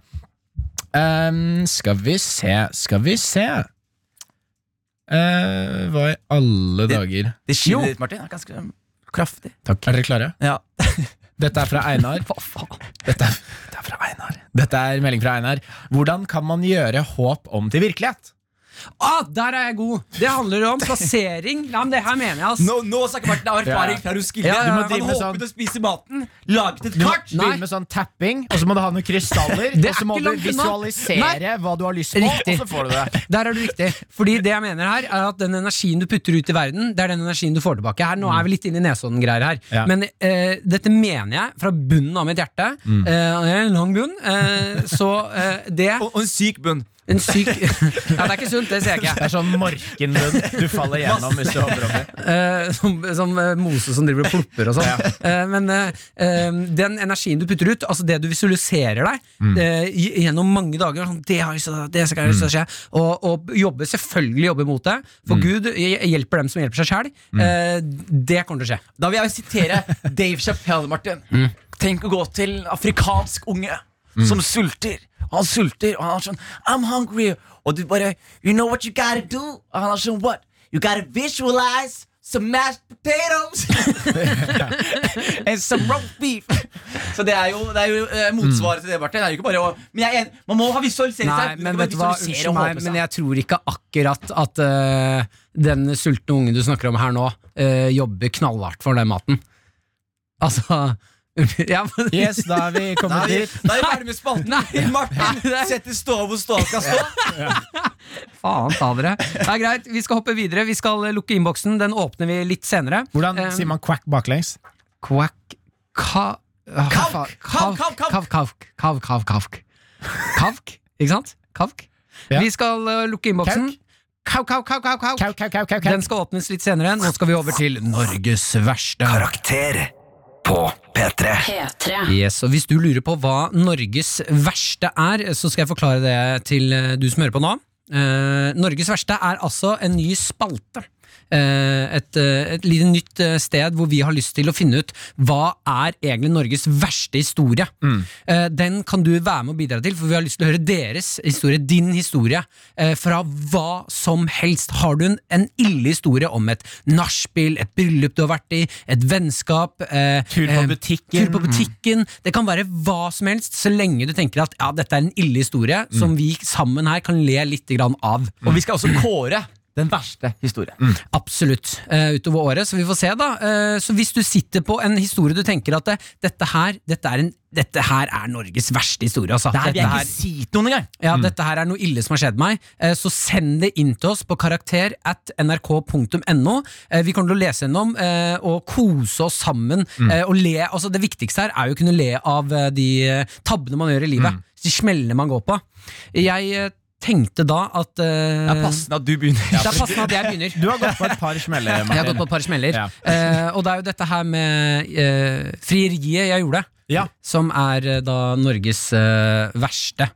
Speaker 5: Ehm, skal vi se, skal vi se Eh, Hva i alle dager
Speaker 6: Det
Speaker 2: Jo.
Speaker 6: skinnet ditt, Martin, er ganske um, kraftig.
Speaker 5: Takk. Er dere klare?
Speaker 6: Ja.
Speaker 5: Dette er fra Einar.
Speaker 6: Hva faen?
Speaker 5: Dette er, dette er fra Einar. Dette er melding fra Einar. Hvordan kan man gjøre håp om til virkelighet?
Speaker 2: Ah, der er jeg god! Det handler om plassering. Ja, men det her mener jeg, ass.
Speaker 6: Nå, nå snakker Martin av erfaring
Speaker 5: Ja.
Speaker 6: fra Roskilde.
Speaker 2: Ja, ja, ja.
Speaker 6: Du må
Speaker 5: drive
Speaker 6: drive
Speaker 5: med
Speaker 6: med
Speaker 5: sånn-
Speaker 6: å spise maten, laget et
Speaker 5: Du må
Speaker 6: kart.
Speaker 5: begynne med sånn tapping, og så må du ha noen krystaller.
Speaker 2: Det er
Speaker 5: Og så må
Speaker 2: ikke
Speaker 5: du
Speaker 2: langt unna.
Speaker 5: visualisere hva du har lyst på,
Speaker 2: Riktig.
Speaker 5: og så får du det.
Speaker 2: Der er du riktig. Fordi det jeg mener her, er at den energien du putter ut i verden, det er den energien du får tilbake. Her, nå er vi litt inne i Nesodden-greier her.
Speaker 5: Ja.
Speaker 2: Men eh, dette mener jeg fra bunnen av mitt hjerte. Eh, det er en lang bunn. Eh, så eh, det
Speaker 6: Og, og en syk bunn.
Speaker 2: En syk Ja, det er ikke sunt, det ser jeg
Speaker 5: Det
Speaker 2: ikke.
Speaker 5: er sånn morkenmunn du faller gjennom hvis du hopper over.
Speaker 2: Eh, som som eh, Moses som driver og plopper og sånn. Eh, men eh, eh, den energien du putter ut, altså det du visualiserer deg eh, i- gjennom mange dager sånn, Det har jeg lyst til å det skal jeg lyst til å skje. Og, og jobbe, selvfølgelig jobbe mot det. For Gud hj- hjelper dem som hjelper seg sjæl. det kommer til å skje.
Speaker 6: Da vil jeg sitere Dave Chappelle, Martin.
Speaker 2: Mm.
Speaker 6: Tenk å gå til en afrikansk unge som sulter. Han sulter, og han er sånn I'm hungry. Og du bare You know what you gotta do? Og han er sånn What? You gotta visualize some mashed potatoes and some roast beef. Så det er jo, det er jo eh, motsvaret til det, Martin. Det er jo ikke bare å Men jeg er enig. Man må ha visualisert
Speaker 2: Nei,
Speaker 6: seg. Du
Speaker 2: men
Speaker 6: kan
Speaker 2: vet du hva,
Speaker 6: visualisere
Speaker 2: unnskyld
Speaker 6: og
Speaker 2: meg,
Speaker 6: liksom håpe seg.
Speaker 2: men jeg tror ikke akkurat at eh, den sultne ungen du snakker om her nå, eh, jobber knallhardt for den maten. Altså ja, men,
Speaker 5: Yes, da er vi
Speaker 6: Da
Speaker 5: kommet
Speaker 6: er vi
Speaker 5: dit.
Speaker 6: da er vi ferdig med spalten. Martin setter ståa hvor ståa skal stå.
Speaker 2: Faen ta dere. Det er greit, vi skal hoppe videre. Vi skal eh, lukke innboksen. Den åpner vi litt senere.
Speaker 5: Hvordan
Speaker 2: Eh,
Speaker 5: sier man quack baklengs?
Speaker 2: Quack ka, ah,
Speaker 6: Kavk,
Speaker 2: faen.
Speaker 6: kavk,
Speaker 2: Kavk,
Speaker 6: kavk,
Speaker 2: kavk, kavk, kavk, kavk, kavk. Kavk, ikke sant? Kavk.
Speaker 5: Ja.
Speaker 2: Vi skal eh, lukke innboksen. Kau, kau, kau, kau, kau.
Speaker 5: Kau, kau, kau, kau, kau.
Speaker 2: Den skal åpnes litt senere. Nå skal vi over til Norges verste.
Speaker 4: Karakter på P3.
Speaker 8: P3.
Speaker 2: Yes, og Hvis du lurer på hva Norges verste er, så skal jeg forklare det til eh, du som hører på nå. Eh, Norges verste er altså en ny spalte. Eh, et, eh, et lite nytt eh, sted hvor vi har lyst til å finne ut hva er egentlig Norges verste historie. Eh, den kan du være med og bidra til, for vi har lyst til å høre deres historie, din historie, eh, fra hva som helst. Har du en, en ille historie om et nachspiel, et bryllup du har vært i, et vennskap eh,
Speaker 5: Tur på
Speaker 2: eh,
Speaker 5: butikken.
Speaker 6: Mm.
Speaker 2: Tur på butikken. Det kan være hva som helst, så lenge du tenker at ja, dette er en ille historie som vi sammen her kan le litt grann av.
Speaker 6: Mm. Og vi skal også kåre den verste historien.
Speaker 2: Absolutt. eh, utover året, så vi får se, da. Eh, så hvis du sitter på en historie du tenker at eh, dette her, dette er, en, dette her er Norges verste historie, altså.
Speaker 6: Der vil
Speaker 2: Dette
Speaker 6: jeg
Speaker 2: her-
Speaker 6: ikke si noen engang.
Speaker 2: ja, dette her er noe ille som har skjedd meg, eh, så send det inn til oss på karakter at nrk.no. Eh, Vi kommer til å lese gjennom eh, og kose oss sammen. eh, Og le, altså det viktigste her er jo å kunne le av eh, de eh, tabbene man gjør i livet. De smellene man går på. Jeg eh, tenkte da at eh,
Speaker 6: Det er passende at du begynner.
Speaker 2: det er passende at jeg begynner.
Speaker 5: Du har gått på et par smeller,
Speaker 2: Jeg har gått
Speaker 5: Martin.
Speaker 2: på et par smeller.
Speaker 5: Ja.
Speaker 2: Eh, og det er jo dette her med eh, frieriet jeg gjorde,
Speaker 5: Ja.
Speaker 2: som er eh, da Norges eh, verste.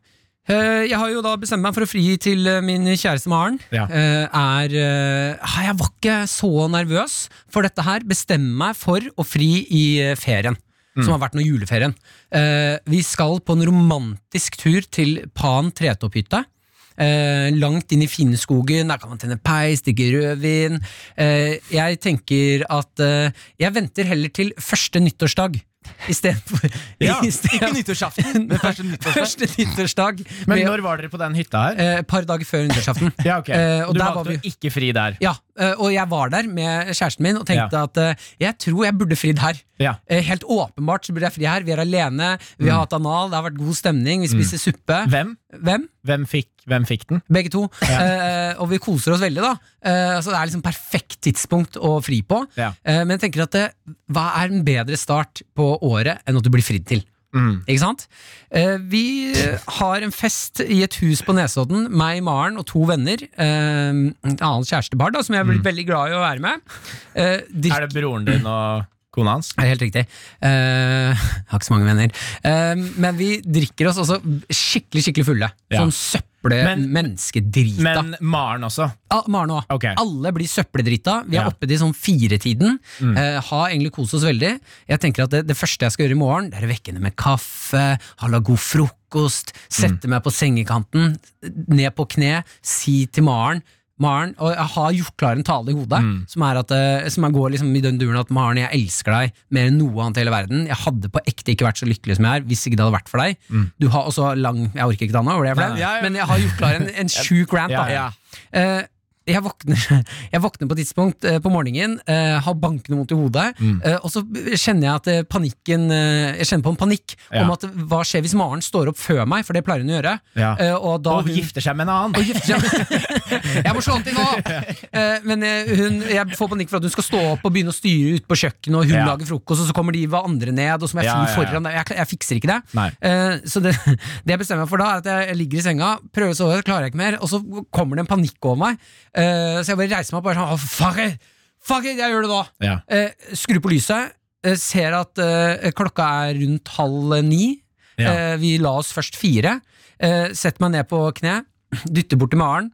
Speaker 2: Eh, jeg har jo da bestemt meg for å fri til eh, min kjæreste Maren.
Speaker 5: Ja.
Speaker 2: Eh, er eh, ah, Jeg var ikke så nervøs for dette her. Bestemmer meg for å fri i eh, ferien.
Speaker 5: Mm.
Speaker 2: Som har vært nå juleferien. Eh, vi skal på en romantisk tur til Pan Tretopphytte. Eh, langt inn i Finnskogen, der kan man tenne peis, digge rødvin. Eh, jeg tenker at eh, jeg venter heller til første nyttårsdag istedenfor
Speaker 5: Ja,
Speaker 6: Ikke nyttårsaften, men første nyttårsdag.
Speaker 2: Første nyttårsdag.
Speaker 5: Men
Speaker 2: med-
Speaker 5: når var dere på den hytta her?
Speaker 2: eh, Et par dager før nyttårsaften.
Speaker 5: Ja, ok.
Speaker 2: eh, og
Speaker 5: du
Speaker 2: der var
Speaker 5: valgte
Speaker 2: vi-
Speaker 5: å ikke fri der.
Speaker 2: Ja, eh, og jeg var der med kjæresten min og tenkte at eh, jeg tror jeg burde fridd her.
Speaker 5: Ja.
Speaker 2: Eh, Helt åpenbart så burde jeg fri her. Vi er alene, vi har hatt anal, det har vært god stemning, vi spiser suppe.
Speaker 5: Hvem?
Speaker 2: Hvem?
Speaker 5: Hvem fikk, hvem fikk den?
Speaker 2: Begge to. Eh, og vi koser oss veldig, da. Eh, så det er liksom perfekt tidspunkt å fri på.
Speaker 5: Ja.
Speaker 2: Eh, men jeg tenker at det, hva er en bedre start på året enn at du blir fridd til?
Speaker 5: Mm.
Speaker 2: Ikke sant? Eh, vi har en fest i et hus på Nesodden, meg, Maren og to venner. Eh, en annen kjærestepar da, som jeg har blitt veldig glad i å være med. Eh, drikk-
Speaker 5: Mm. Er det broren din og kona hans?
Speaker 2: det er helt riktig. Eh, jeg har ikke så mange venner. Eh, men vi drikker oss også skikkelig skikkelig fulle.
Speaker 5: Ja.
Speaker 2: Sånn søple
Speaker 5: Men-
Speaker 2: menneskedrita.
Speaker 5: Men Maren også.
Speaker 2: Ah, Maren òg.
Speaker 5: Ok.
Speaker 2: Alle blir søppeldrita. Vi er
Speaker 5: Ja. Mm.
Speaker 2: oppe til sånn firetiden. Eh, har egentlig kost oss veldig. Jeg tenker at det, det første jeg skal gjøre i morgen, det er å vekke henne med kaffe, halla god frokost,
Speaker 5: Mm.
Speaker 2: sette meg på sengekanten, ned på kne, si til Maren Maren, og jeg har gjort klar en tale i hodet
Speaker 5: Mm.
Speaker 2: som, er at, eh, som er- går liksom i den duren at Maren, jeg elsker deg mer enn noe annet i hele verden. Jeg hadde på ekte ikke vært så lykkelig som jeg er hvis ikke det hadde vært for deg. Du har også lang Jeg orker ikke, Danna, ble jeg flau?
Speaker 5: Mm. Nei, ja, ja.
Speaker 2: men jeg har gjort klar en, en sjuk rant. Da.
Speaker 5: Ja, ja.
Speaker 2: Eh, jeg våkner, jeg våkner på et tidspunkt eh, på morgenen, eh, har bankende vondt i hodet,
Speaker 5: Mm.
Speaker 2: eh, og så kjenner jeg at eh, panikken eh, Jeg kjenner på en panikk
Speaker 5: Ja.
Speaker 2: om at hva skjer hvis Maren står opp før meg, for det pleier hun å gjøre.
Speaker 5: Ja.
Speaker 2: eh, og da
Speaker 5: Og
Speaker 2: hun-
Speaker 5: gifter seg med en annen.
Speaker 2: jeg må slå an til nå! Eh, Men eh, hun, jeg får panikk for at hun skal stå opp og begynne å styre ute på kjøkkenet, og hun
Speaker 5: Ja.
Speaker 2: lager frokost, og så kommer de hva andre ned, og så må jeg
Speaker 5: Ja,
Speaker 2: fly
Speaker 5: ja, ja.
Speaker 2: foran. Jeg, jeg fikser ikke det.
Speaker 5: Nei.
Speaker 2: Eh, Så det, det jeg bestemmer meg for da, er at jeg ligger i senga, prøver å sove, klarer jeg ikke mer, og så kommer det en panikk over meg. Eh, Så jeg bare reiser meg opp og bare sånn «Å, Fuck it! Fuck it! Jeg gjør det nå!
Speaker 5: Ja.
Speaker 2: Eh, Skrur på lyset, eh, ser at eh, klokka er rundt halv ni.
Speaker 5: Ja.
Speaker 2: Eh, Vi la oss først fire. Eh, Setter meg ned på kne, dytter bort til Maren.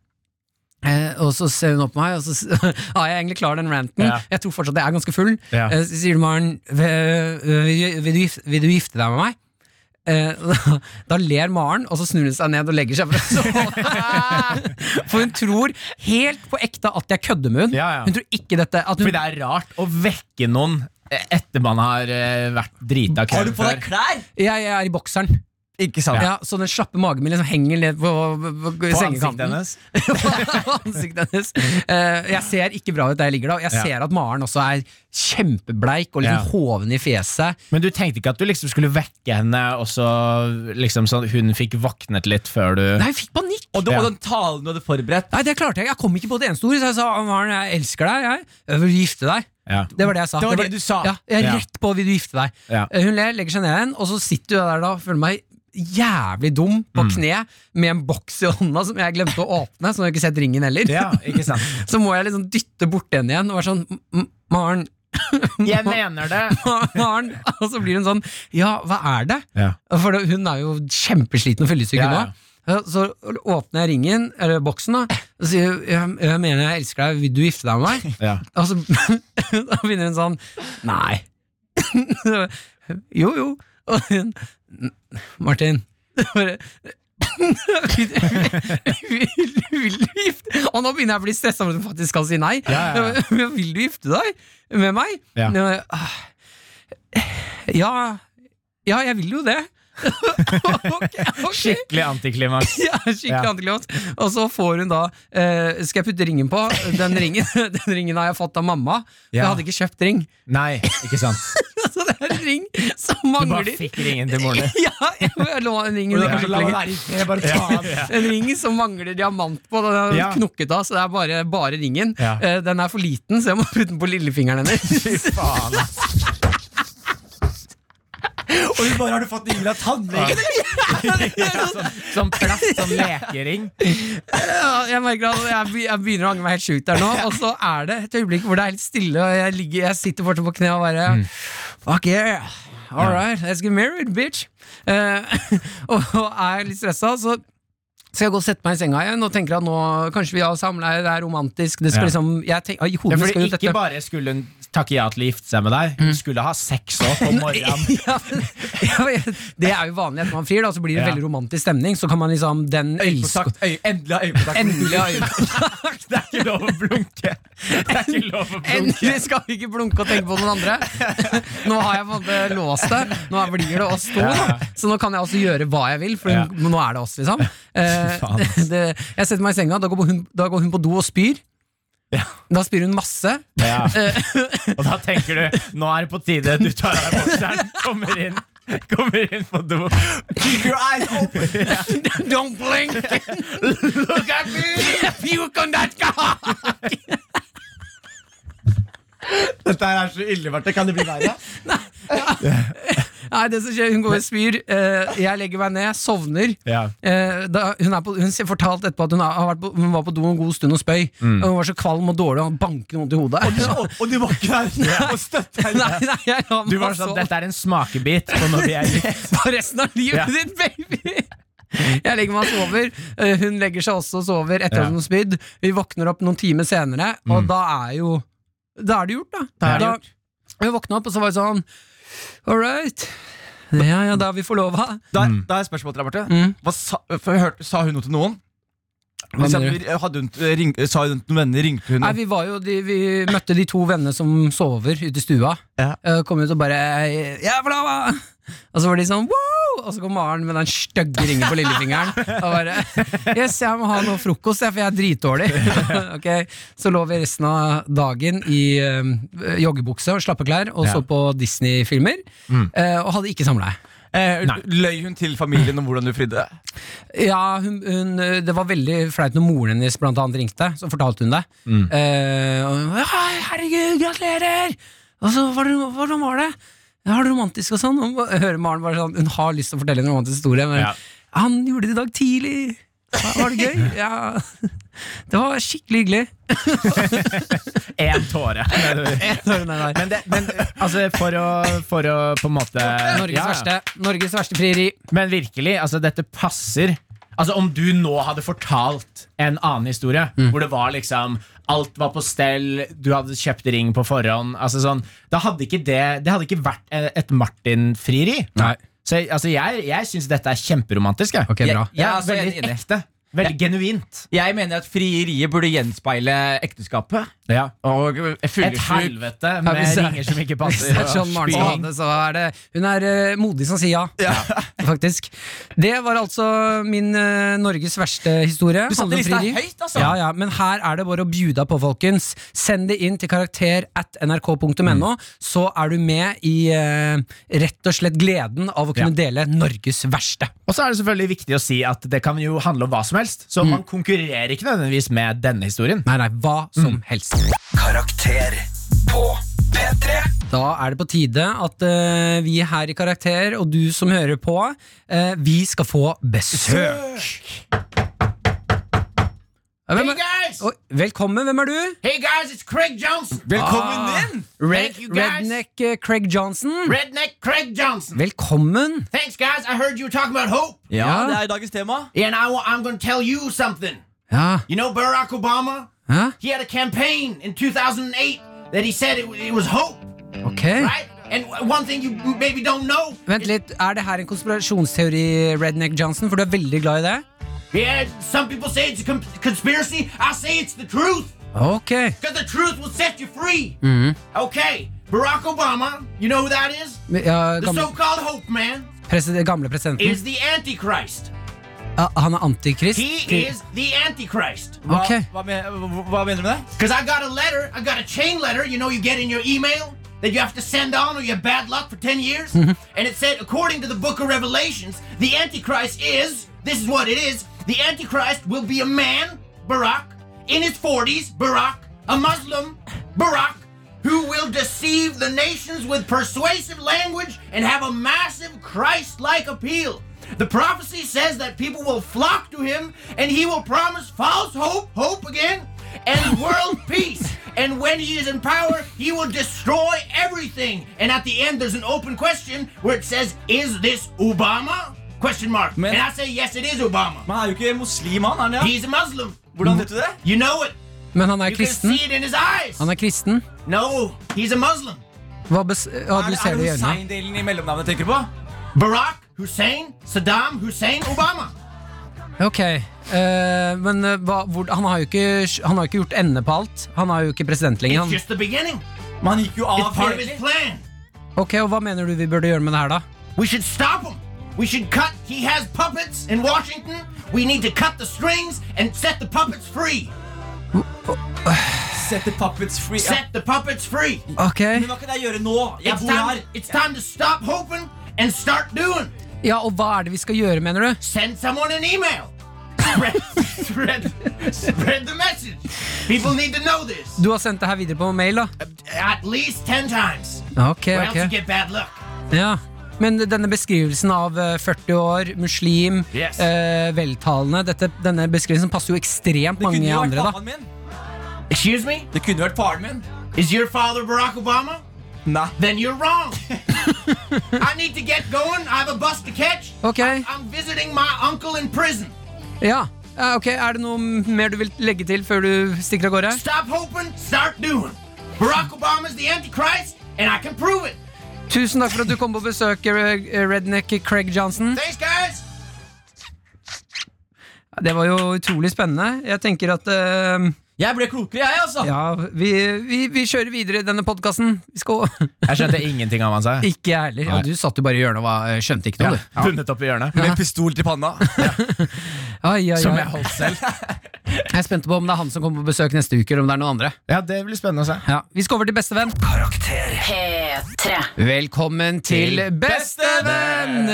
Speaker 2: Eh, og så ser hun opp på meg, og så s- har jeg egentlig klar den ranten.
Speaker 5: Ja.
Speaker 2: Jeg tror fortsatt jeg er ganske full.
Speaker 5: Ja.
Speaker 2: Eh, så sier du, Maren, vil, vil, du gif- vil du gifte deg med meg? Eh, da, da ler Maren, og så snur hun seg ned og legger seg for å sove. For hun tror helt på ekte at jeg kødder med hun
Speaker 5: Ja, ja.
Speaker 2: Hun tror ikke dette. At hun,
Speaker 5: Fordi det er rart å vekke noen etter man har eh, vært drita kvelden før.
Speaker 6: klær?
Speaker 2: jeg, jeg er i bokseren.
Speaker 6: Ikke sant?
Speaker 2: Ja, så den slappe magen min liksom henger ned på, på, på,
Speaker 5: På ansiktet
Speaker 2: sengekanten.
Speaker 5: hennes.
Speaker 2: På ansiktet hennes. Eh, jeg ser ikke bra ut der jeg ligger da. og Jeg
Speaker 5: Ja.
Speaker 2: ser at Maren også er kjempebleik og
Speaker 5: Ja.
Speaker 2: liksom hoven i fjeset.
Speaker 5: Men du tenkte ikke at du liksom skulle vekke henne, og så liksom sånn hun fikk våknet litt før du
Speaker 2: Nei, jeg fikk panikk!
Speaker 6: Og, det,
Speaker 5: Ja.
Speaker 6: og den talen du hadde forberedt
Speaker 2: Nei, det klarte jeg. Jeg kom ikke på det eneste ordet, så jeg sa Maren, jeg elsker deg. Jeg, jeg vil gifte deg.
Speaker 5: Ja.
Speaker 2: Det var det jeg sa.
Speaker 6: Det var det du sa.
Speaker 2: Ja, jeg er
Speaker 5: Ja.
Speaker 2: rett på 'vil du gifte deg'.
Speaker 5: Ja.
Speaker 2: Eh, Hun ler, legger seg ned igjen, og så sitter jeg der da og føler meg jævlig dum på
Speaker 6: Mm.
Speaker 2: kne med en boks i hånda som jeg glemte å åpne, så nå har jeg ikke sett ringen heller.
Speaker 5: Ja, ikke sant?
Speaker 2: Så må jeg liksom dytte bort den igjen og være sånn «M- M- Maren,
Speaker 5: Jeg mener det!
Speaker 2: Maren. Og så blir hun sånn Ja, hva er det?
Speaker 5: Ja.
Speaker 2: For det- hun er jo kjempesliten og fyllesyk
Speaker 5: Ja,
Speaker 2: hun
Speaker 5: ja.
Speaker 2: òg. Så åpner jeg ringen, eller boksen, da, og sier jeg, jeg mener jeg elsker deg, vil du gifte deg med meg?
Speaker 5: Ja.
Speaker 2: Og så da begynner hun sånn Nei. jo, jo. Og hun Martin. Bare vil, vil, vil du gifte Og nå begynner jeg å bli stressa for at hun faktisk skal si nei.
Speaker 5: Ja, ja, ja.
Speaker 2: Men Vil du gifte deg med meg?
Speaker 5: Ja.
Speaker 2: Jeg bare, "Ah, ja, ja jeg vil jo det. ok, ok.
Speaker 5: Skikkelig antiklimaks.
Speaker 2: Ja, skikkelig
Speaker 5: Ja.
Speaker 2: antiklimaks. Og så får hun da eh, Skal jeg putte ringen på? Den ringen, den ringen har jeg fått av mamma. for Jeg
Speaker 5: Ja.
Speaker 2: hadde ikke kjøpt ring.
Speaker 5: Nei, ikke sant.
Speaker 2: Så det er en ring som
Speaker 5: Du bare
Speaker 2: mangler.
Speaker 5: fikk ringen til moren din.
Speaker 2: Ja, jeg lå en ring,
Speaker 6: Og
Speaker 2: under
Speaker 6: det er
Speaker 2: skikkelig
Speaker 6: kanskje la meg
Speaker 2: lenge.
Speaker 6: være i fred, bare faen.
Speaker 2: en ring som mangler diamant på. Den er
Speaker 5: Ja.
Speaker 2: knokket av, så det er bare, bare ringen.
Speaker 5: Ja.
Speaker 2: Eh, Den er for liten, så jeg må putte den på lillefingeren hennes.
Speaker 5: Faen. altså.
Speaker 6: Og hun bare 'Har du fått en ring av tannlegen?'
Speaker 5: Som plast, som lekering.
Speaker 2: Ja, jeg merker at jeg, be- jeg begynner å angre meg helt sjukt der nå, og så er det et øyeblikk hvor det er helt stille, og jeg, ligger, jeg sitter fortsatt på kne og bare
Speaker 5: Mm.
Speaker 2: Fuck yeah! All right, let's get married, bitch! Eh, og, og er litt stressa, så skal jeg gå og sette meg i senga igjen og tenker at nå kanskje vi har samleie, det er romantisk det skal
Speaker 5: Ja.
Speaker 2: liksom, jeg tenk, I
Speaker 5: Ja,
Speaker 2: hodet mitt
Speaker 5: fordi
Speaker 2: skal jo
Speaker 5: Ikke
Speaker 2: dette
Speaker 5: bare skulle hun takke ja til å gifte seg med deg, hun skulle ha sex òg på morgenen.
Speaker 2: ja, men, ja, men det er jo vanlig etter man frir, da, så blir det
Speaker 5: Ja.
Speaker 2: veldig romantisk stemning. Så kan man liksom den elsker
Speaker 6: Øyekontakt. Øye, endelig har øyekontakt.
Speaker 2: Endelig har vi
Speaker 5: Det er ikke lov å blunke! Det er ikke lov å blunke.
Speaker 2: Endelig skal vi ikke blunke og tenke på noen andre. Nå har jeg på en måte låst det. Nå blir det oss to. Da. Så nå kan jeg også gjøre hva jeg vil, for
Speaker 5: Ja.
Speaker 2: nå er det oss, liksom. Eh,
Speaker 5: Fy faen,
Speaker 2: det, jeg setter meg i senga, da går hun, da går hun på do og spyr.
Speaker 5: Ja.
Speaker 2: Da spyr hun masse.
Speaker 5: Ja. Og da tenker du nå er det på tide. Du tar av deg bokseren, kommer inn, kommer inn på do.
Speaker 6: Keep your eyes open.
Speaker 2: Don't blink! Look at me! Puke on that guy!
Speaker 6: Dette her er så ille, Marte. Kan det bli verre?
Speaker 2: Nei, det som skjer, hun går og spyr. Eh, jeg legger meg ned, sovner.
Speaker 5: Ja.
Speaker 2: Eh, da, hun, er på, hun sier- fortalte etterpå at hun, har vært på, hun var på do en god stund og spøy.
Speaker 5: Mm.
Speaker 2: Og hun var så kvalm og dårlig og bankende vondt i hodet.
Speaker 6: Og, og du var ikke der og støtte henne.
Speaker 2: nei, nei, jeg la
Speaker 5: Du
Speaker 2: meg
Speaker 5: var sånn
Speaker 2: sove
Speaker 5: Dette er en smakebit på når vi er gift.
Speaker 2: for resten av livet
Speaker 5: Ja.
Speaker 2: ditt, baby! Jeg legger meg og sover. Eh, Hun legger seg også og sover etter
Speaker 9: Ja.
Speaker 2: at hun har spydd. Vi våkner opp noen timer senere, og da er jo Da er det gjort, da.
Speaker 5: Mm. Da er det gjort.
Speaker 2: Vi våkna opp, og så var det sånn All right. Ja, ja, da er vi forlova.
Speaker 6: Da, da er spørsmålet til deg, Marte.
Speaker 2: Mm.
Speaker 6: Hva sa, for jeg hørte, sa hun noe til noen?
Speaker 2: Hva
Speaker 6: Hvis
Speaker 2: mener
Speaker 6: jeg- hadde hun, ring, sa hun til noen venner? Ringte hun?
Speaker 2: Nei, vi, var jo de, vi møtte de to vennene som sover ute i stua.
Speaker 6: Ja.
Speaker 2: Eh, kom ut og bare Jeg er forlova! Og så var de sånn wow! Og så kom Maren med den stygge ringen på lillefingeren. Og bare Yes, jeg må ha noe frokost, jeg, for jeg er dritdårlig. Ok, Så lå vi resten av dagen i eh, joggebukse og slappeklær og så på Disney-filmer. eh, og hadde ikke samleie.
Speaker 6: Eh, løy hun til familien om hvordan du fridde?
Speaker 2: Ja, hun, hun, det var veldig flaut når moren hennes blant annet ringte. Så fortalte hun det.
Speaker 9: Mm.
Speaker 2: Eh, og hun, ja, herregud, gratulerer! Og så, "Hva- hvordan var det? Ja, Var det romantisk og sånn? Og hun hører Maren bare sånn, Hun har lyst til å fortelle en romantisk historie, men
Speaker 9: Ja.
Speaker 2: han gjorde det i dag tidlig. Var var det gøy? Ja. Det var skikkelig hyggelig.
Speaker 9: Én tåre.
Speaker 2: Jeg tar den der.
Speaker 9: Men, det, men altså, for å, for å på en måte
Speaker 2: Norges,
Speaker 9: Ja, ja.
Speaker 2: Verste, Norges verste frieri.
Speaker 9: Men virkelig, altså dette passer Altså Om du nå hadde fortalt en annen historie,
Speaker 2: Mm.
Speaker 9: hvor det var liksom alt var på stell, du hadde kjøpt ring på forhånd altså sånn, Da hadde ikke det Det hadde ikke vært eh, et Martin-frieri.
Speaker 2: Nei.
Speaker 9: Så jeg- altså, jeg, jeg syns dette er kjemperomantisk. Jeg.
Speaker 2: Ok, bra.
Speaker 9: Jeg, jeg
Speaker 6: Ja,
Speaker 9: er
Speaker 6: altså, jeg er
Speaker 9: veldig
Speaker 6: enig i det.
Speaker 9: ekte. Veldig genuint.
Speaker 6: Jeg mener at frieriet burde gjenspeile ekteskapet. Og
Speaker 9: Et
Speaker 6: fyllesyk.
Speaker 9: helvete
Speaker 2: Ja, hvis
Speaker 9: med
Speaker 2: det er-
Speaker 9: ringer som ikke
Speaker 2: Hvis det
Speaker 9: passer.
Speaker 2: er sånn John Maren som hadde, så er det Hun er eh, modig som sier ja. Faktisk. Det var altså min eh, Norges verste historie.
Speaker 6: Du satte
Speaker 2: Handler om
Speaker 6: lista
Speaker 2: frieri.
Speaker 6: høyt, altså.
Speaker 2: Ja, ja, men her er det bare å bjuda på, folkens. Send det inn til karakter at
Speaker 6: Mm.
Speaker 2: nrk.no, så er du med i eh, rett og slett gleden av å kunne dele Norges verste.
Speaker 9: Og så er det selvfølgelig viktig å si at det kan jo handle om hva som helst. Så
Speaker 6: Mm.
Speaker 9: man konkurrerer ikke nødvendigvis med denne historien.
Speaker 2: Nei, nei, hva som
Speaker 6: Mm.
Speaker 2: helst.
Speaker 4: Karakter på P3.
Speaker 2: Da er det på tide at eh, vi her i Karakter, og du som hører på, eh, vi skal få besøk. Ja, Hvem er, Oi, velkommen, hvem er du?
Speaker 9: Hey guys, it's Craig Johnson!
Speaker 6: Velkommen
Speaker 2: Ah.
Speaker 6: inn!
Speaker 2: Red,
Speaker 9: Thank you, guys.
Speaker 2: redneck eh, Craig Johnson.
Speaker 9: Redneck Craig Johnson!
Speaker 2: Velkommen.
Speaker 9: Thanks, guys. I heard you were talking about hope,
Speaker 6: Ja,
Speaker 2: Ja.
Speaker 6: det er dagens tema.
Speaker 9: and I, am going to tell you something.
Speaker 2: Ja,
Speaker 9: You know, Barack Obama,
Speaker 2: ja,
Speaker 9: he had a campaign in 2008 that he said it, it was hope,
Speaker 2: ok.
Speaker 9: Mm. right? And w- one thing you maybe don't know,
Speaker 2: Vent litt, er det her en konspirasjonsteori, Redneck Johnson? For du er veldig glad i det?
Speaker 9: yeah, some people say it's a com- conspiracy. I say it's the truth,
Speaker 2: Ok.
Speaker 9: because the truth will set you free. Okay, Barack Obama, you know who that is?
Speaker 2: Ja,
Speaker 9: The
Speaker 2: gamle,
Speaker 9: so-called hope man
Speaker 2: president, gamle presidenten.
Speaker 9: is the Antichrist.
Speaker 2: Ja, han er antikrist.
Speaker 9: He is the Antichrist.
Speaker 6: Hva,
Speaker 2: Ok.
Speaker 6: hva, men- hva, hva mener du med det?
Speaker 9: Because I got a letter, I got a chain letter, you know, you get in your email that you have to send on or you have bad luck for 10 years. and it said, according to the book of Revelations, the Antichrist is, this is what it is, the Antichrist will be a man, Barack, in his 40s, Barack, a Muslim, Barack, who will deceive the nations with persuasive language and have a massive Christ like appeal. The prophecy says that people will flock to him and he will promise false hope, hope again, and world peace. And when he is in power, he will destroy everything. And at the end, there's an open question where it says, Is this Obama? Question mark.
Speaker 6: Man.
Speaker 9: and I say, Yes, it is Obama.
Speaker 6: Men han er jo ikke muslim, han. er han, ja?
Speaker 9: He's a Muslim.
Speaker 6: Hvordan vet du det?
Speaker 9: You know it.
Speaker 2: Men han er
Speaker 9: You can
Speaker 2: kristen.
Speaker 9: see it in his eyes.
Speaker 2: Han er kristen.
Speaker 9: No, he's a Muslim.
Speaker 2: Hva bes ja,
Speaker 6: Er,
Speaker 2: du
Speaker 6: er
Speaker 2: ser det i øynene.
Speaker 6: det Hussein-delen i mellomnavnet jeg tenker på?
Speaker 9: Barack Hussein, Saddam Hussein, Obama.
Speaker 2: Ok, eh, men eh, hva, hvor, han, har jo ikke, han har jo ikke gjort ende på alt. Han er jo ikke president lenger.
Speaker 9: It's
Speaker 2: Han.
Speaker 9: just the beginning.
Speaker 6: Men han gikk jo av
Speaker 9: It's part of his
Speaker 6: hele-
Speaker 9: plan.
Speaker 2: Ok, og Hva mener du vi burde gjøre med det her, da?
Speaker 9: We should stop him. We should cut. He has puppets in Washington. We need to cut the strings and set the puppets free.
Speaker 6: Set the puppets free. Ja.
Speaker 9: Set the puppets free.
Speaker 2: Ok
Speaker 6: Men hva kan jeg gjøre nå? Jeg
Speaker 9: It's
Speaker 6: bor
Speaker 9: time,
Speaker 6: her.
Speaker 9: it's time to stop hoping and start doing.
Speaker 2: Ja, Og hva er det vi skal gjøre, mener du?
Speaker 9: Send someone an email. Spread, spread, spread the message. People need to know this
Speaker 2: Du har sendt det her videre på mail, da?
Speaker 9: at least 10 times.
Speaker 2: Ok,
Speaker 9: Or else you
Speaker 2: ok
Speaker 9: get bad luck.
Speaker 2: ja. Men denne beskrivelsen av eh, 40 år, muslim,
Speaker 9: Yes.
Speaker 2: eh, veltalende dette, Denne beskrivelsen passer jo ekstremt
Speaker 6: Det kunne
Speaker 2: mange
Speaker 6: jo vært
Speaker 2: andre, da.
Speaker 6: pappaen min.
Speaker 9: Excuse me?
Speaker 6: Det kunne jo vært faren min.
Speaker 9: Is your father Barack Obama?
Speaker 6: Nei.
Speaker 9: Then you're wrong.
Speaker 5: I need to get going. I have a bus to catch.
Speaker 2: Ok,
Speaker 5: I'm visiting my uncle in prison.
Speaker 2: ja Ja, Ok, Er det noe mer du vil legge til før du stikker av gårde?
Speaker 5: Stop hoping, start doing. Barack Obama's the Antichrist, and I can prove it.
Speaker 2: Tusen takk for at du kom på besøk, eh, redneck Craig Johnson.
Speaker 5: Thanks, guys.
Speaker 2: Det var jo utrolig spennende. Jeg tenker at eh,
Speaker 6: Jeg ble klokere, jeg, altså!
Speaker 2: Ja, vi, vi, vi kjører videre i denne podkasten. Vi skal
Speaker 5: Jeg skjønte ingenting av hva han sa.
Speaker 2: Ikke jeg heller. Ja, du satt jo bare i hjørnet og var- eh, skjønte ikke noe, du.
Speaker 5: Bundet opp i hjørnet.
Speaker 6: Med pistol til panna.
Speaker 2: Ai, ai, ai.
Speaker 5: Som jeg holdt selv.
Speaker 2: Jeg er spent på om det er han som kommer på besøk neste uke, eller om det er noen andre.
Speaker 5: Ja, Det blir spennende å se.
Speaker 2: Ja, Vi skal over til Bestevenn.
Speaker 4: Karakter.
Speaker 8: P3.
Speaker 2: Velkommen til Bestevenn!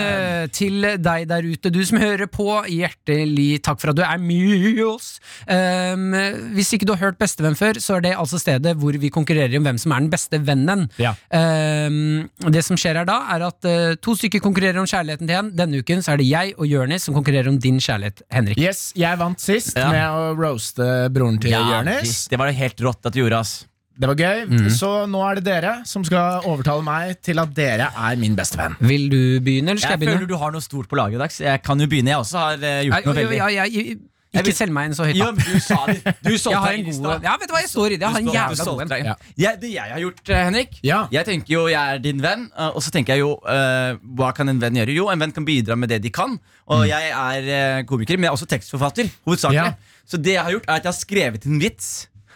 Speaker 2: Til deg der ute, du som hører på. Hjertelig takk for at du er med oss. Um, hvis ikke du har hørt Bestevenn før, så er det altså stedet hvor vi konkurrerer om hvem som er den beste vennen.
Speaker 5: Ja.
Speaker 2: Um, det som skjer her da, er at eh, to stykker konkurrerer om kjærligheten til en. Denne uken så er det jeg og Jørnis som konkurrerer om din kjærlighet, Henrik.
Speaker 5: Yes, Jeg vant sist med å roaste broren til Jonis.
Speaker 6: det var det helt rått at du gjorde, ass.
Speaker 5: Det var gøy.
Speaker 6: Mm.
Speaker 5: Så nå er det dere som skal overtale meg til at dere er min beste venn.
Speaker 2: Vil du begynne, eller skal jeg,
Speaker 6: Jeg
Speaker 2: begynne?
Speaker 6: føler du har noe stort på laget i dag, så jeg kan jo begynne. Jeg også har eh,
Speaker 2: Nei,
Speaker 6: gjort noe
Speaker 2: jo, jo,
Speaker 6: veldig
Speaker 2: ja, jeg-
Speaker 6: Jeg
Speaker 2: ikke
Speaker 6: vil-
Speaker 2: selg meg inn så høyt.
Speaker 6: Ja,
Speaker 2: da.
Speaker 6: men du sa det. Du solgte
Speaker 2: Jeg har
Speaker 6: deg
Speaker 2: en
Speaker 6: i
Speaker 2: god
Speaker 6: stad.
Speaker 2: en. Ja, vet du hva, jeg står i det. Jeg har
Speaker 6: Du
Speaker 2: en
Speaker 6: solgte- du
Speaker 2: jævla god
Speaker 6: solgte
Speaker 2: en.
Speaker 6: deg inn.
Speaker 5: Ja.
Speaker 6: Jeg- Det jeg har gjort, eh, Henrik
Speaker 5: Ja.
Speaker 6: Jeg tenker jo jeg er din venn, eh, og så tenker jeg jo eh, Hva kan en venn gjøre? Jo, en venn kan bidra med det de kan. Og jeg er eh, komiker, men jeg er også tekstforfatter. hovedsakelig
Speaker 5: Ja.
Speaker 6: Så det jeg har gjort, er at jeg har skrevet en vits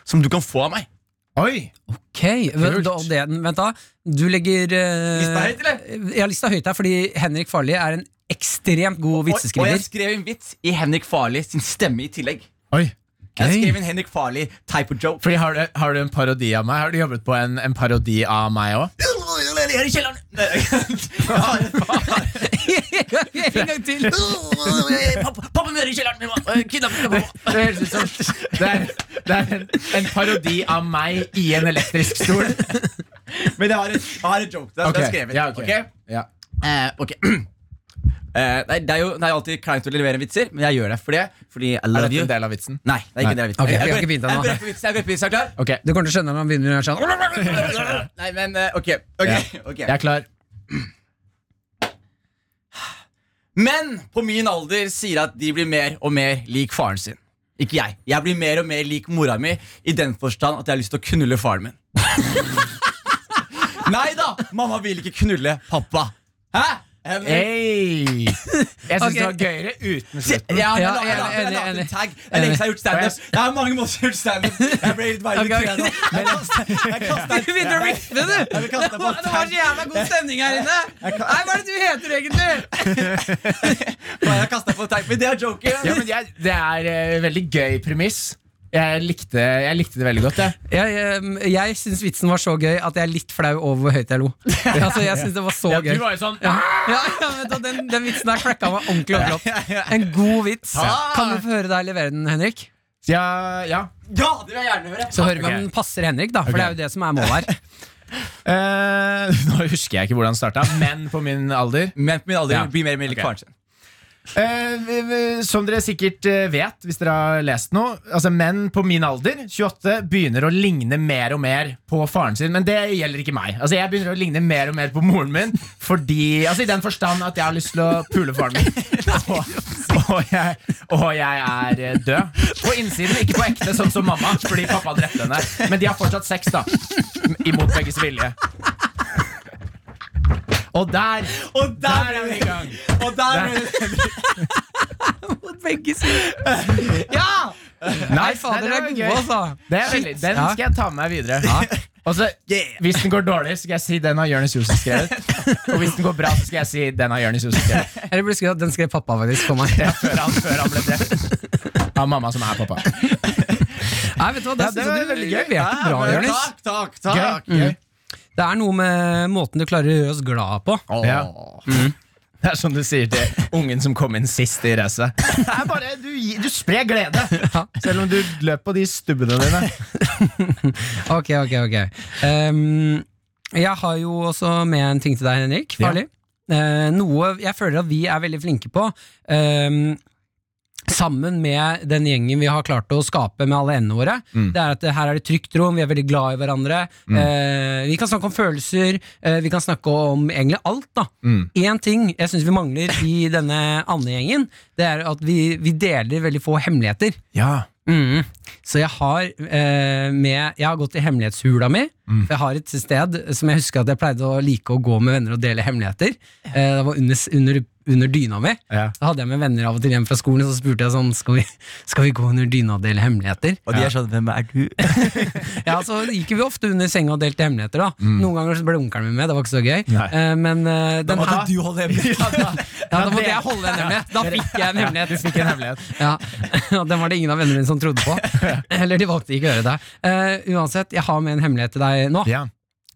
Speaker 6: som du kan få av meg.
Speaker 5: Oi!
Speaker 2: Ok, vent, da, det, vent da Du legger eh,
Speaker 6: Lista høyt, eller?
Speaker 2: Ja, lista høyt her, fordi Henrik Farli er en ekstremt god
Speaker 6: Og, og jeg
Speaker 2: vitseskriver
Speaker 6: skrev en vits i Henrik Farli sin stemme i tillegg.
Speaker 5: Oi.
Speaker 6: Jeg
Speaker 2: Gøy.
Speaker 6: skrev en Henrik Farli type of joke.
Speaker 5: Fordi har du, har du en parodi av meg? Har du jobbet på en, en parodi av meg òg?
Speaker 6: Jeg er i kjelleren! Nei.
Speaker 2: En gang til
Speaker 6: Pappa, pappa min er i kjelleren! Jeg må, eh, kidnappe pappa.
Speaker 5: Det høres ut som det er, det er en, en parodi av meg i en elektrisk stol.
Speaker 6: Men jeg har en, jeg har en joke der som jeg har skrevet.
Speaker 5: Ja, ok.
Speaker 6: ok?
Speaker 5: Ja.
Speaker 6: Eh, ok Eh, nei, det, er jo, det er jo alltid kleint å levere vitser, men jeg gjør det for det. Fordi I
Speaker 5: Er
Speaker 6: love
Speaker 5: dette
Speaker 6: you.
Speaker 5: en del av vitsen?
Speaker 6: Nei, det er ikke
Speaker 5: Nei.
Speaker 6: en del av vitsen.
Speaker 2: Ok, vi har
Speaker 6: jeg
Speaker 2: ikke begynt ennå.
Speaker 6: brøt på vitsen. Jeg brøt på vitsen, er du
Speaker 5: Ok,
Speaker 2: Du kommer til å skjønne når han begynner å gjøre sånn
Speaker 6: klar? Nei, men eh, ok. ok, ok.
Speaker 5: Jeg er klar.
Speaker 6: Menn på min alder sier at de blir mer og mer lik faren sin. Ikke jeg. Jeg blir mer og mer lik mora mi i den forstand at jeg har lyst til å knulle faren min. Nei da! Mamma vil ikke knulle pappa. Hæ? Henrik?
Speaker 5: Hey. Jeg syns
Speaker 2: Ok.
Speaker 5: det var gøyere uten
Speaker 6: Jeg har
Speaker 5: slutten.
Speaker 2: Ja,
Speaker 6: jeg har- jeg har
Speaker 2: enig,
Speaker 6: laget en
Speaker 2: enig.
Speaker 6: tag. Det er lenge siden jeg har gjort standup. Jeg har mange måter gjort standup. Jeg ble helt varm i
Speaker 2: Ok, ok.
Speaker 6: trøya nå. Jeg kastet- jeg kastet-
Speaker 2: Du begynner å riffe, du
Speaker 6: jeg vil kaste deg
Speaker 2: Det
Speaker 6: på
Speaker 2: var det var så jævla god stemning her inne Nei, hva er det du heter egentlig?
Speaker 6: Jeg kastet på tag. Men det er joken.
Speaker 5: Ja, men jeg, det er eh, veldig gøy premiss. Jeg likte, jeg likte det veldig godt. Jeg.
Speaker 2: Jeg, eh, jeg synes vitsen var så gøy at jeg er litt flau over hvor høyt jeg lo Altså, jeg synes det var så gøy
Speaker 5: var jo sånn
Speaker 2: Ja, ja, ja men da, den, den vitsen der klekka meg ordentlig ordentlig opp. En god vits. Kan vi få høre deg levere den, Henrik?
Speaker 5: Ja, ja.
Speaker 6: Ja, det vil jeg gjerne høre.
Speaker 2: Så hører vi
Speaker 5: Ok.
Speaker 2: om den passer Henrik, da. For det er jo det som er målet her.
Speaker 5: Eh, nå husker jeg ikke hvordan det starta, men på min alder.
Speaker 6: Men på min alder
Speaker 5: Ja.
Speaker 6: blir mer og mer lik
Speaker 5: Ok.
Speaker 6: faren sin.
Speaker 5: Eh, vi- vi- som dere sikkert eh, vet, hvis dere har lest noe Altså Menn på min alder, 28, begynner å ligne mer og mer på faren sin. Men det gjelder ikke meg. Altså Jeg begynner å ligne mer og mer på moren min Fordi, altså i den forstand at jeg har lyst til å pule faren min. Og, og, jeg, og jeg er eh, død. På innsiden, ikke på ekte, sånn som mamma, fordi pappa drepte henne. Men de har fortsatt sex, da. Imot begges vilje. Og der,
Speaker 6: Og der er
Speaker 5: der er vi
Speaker 6: vi
Speaker 5: i gang.
Speaker 6: Og der
Speaker 5: Der.
Speaker 2: Begge sider. Nei, fader, det
Speaker 5: det
Speaker 2: er
Speaker 5: var
Speaker 2: gode,
Speaker 5: gøy.
Speaker 2: altså.
Speaker 5: Det er veldig, den
Speaker 2: Ja.
Speaker 5: skal jeg ta med meg videre. Og så, Hvis den går dårlig, så skal jeg si den har Jonis Johnsen skrevet. Og hvis den går bra, så skal jeg si den har Jonis Johnsen skrevet.
Speaker 2: Eller burde skrevet at den skrev pappa, faktisk. For meg.
Speaker 5: Ja, før, han, før han ble drept. Av mamma som er pappa.
Speaker 2: Nei, vet du hva, det,
Speaker 5: Ja, det
Speaker 2: synes jeg
Speaker 5: var
Speaker 2: du
Speaker 5: veldig gøy.
Speaker 2: leverte bra,
Speaker 6: men
Speaker 2: Jonis.
Speaker 6: Takk, takk,
Speaker 5: Gøy. Mm.
Speaker 6: takk.
Speaker 5: Gøy.
Speaker 2: Det er noe med måten du klarer å gjøre oss glad på.
Speaker 5: Ja. Mm. Det er som du sier til ungen som kom inn sist i racet. Det er bare, Du, gi- du sprer glede,
Speaker 2: Ja.
Speaker 5: selv om du løp på de stubbene dine.
Speaker 2: Ok, ok, ok Ehm, Jeg har jo også med en ting til deg, Henrik Farlig Eh, Noe jeg føler at vi er veldig flinke på ehm, sammen med den gjengen vi har klart å skape med alle endene våre, det er at eh, her er det trygt rom, vi er veldig glad i hverandre. Eh, vi kan snakke om følelser, eh, vi kan snakke om egentlig alt. da. Én ting jeg syns vi mangler i denne andegjengen, det er at vi, vi deler veldig få hemmeligheter.
Speaker 5: Ja.
Speaker 2: Mm. Så jeg har, eh, med, jeg har gått i hemmelighetshula mi.
Speaker 5: Mm.
Speaker 2: For jeg har et sted som jeg husker at jeg pleide å like å gå med venner og dele hemmeligheter. Eh, det var under, under, under dyna mi.
Speaker 5: Ja.
Speaker 2: Da hadde jeg med venner av og til hjem fra skolen, så spurte jeg sånn Skal vi, skal vi gå under dyna og dele hemmeligheter?
Speaker 6: Og de er sånn, hvem er du?
Speaker 2: Ja, så gikk vi ofte under senga og delte hemmeligheter, da. Noen ganger så ble onkelen min med, det var ikke så gøy.
Speaker 5: Mm. Nei.
Speaker 2: Eh, men eh, den her
Speaker 6: du holde hemmelig?
Speaker 2: ja, Da måtte jeg holde en hemmelighet. Da fikk jeg en hemmelighet.
Speaker 5: Du fikk en hemmelighet.
Speaker 2: Ja, og Den var det ingen av vennene mine som trodde på. Eller de valgte ikke å gjøre det. Eh, uansett, jeg har med en hemmelighet til deg nå.
Speaker 5: Ja.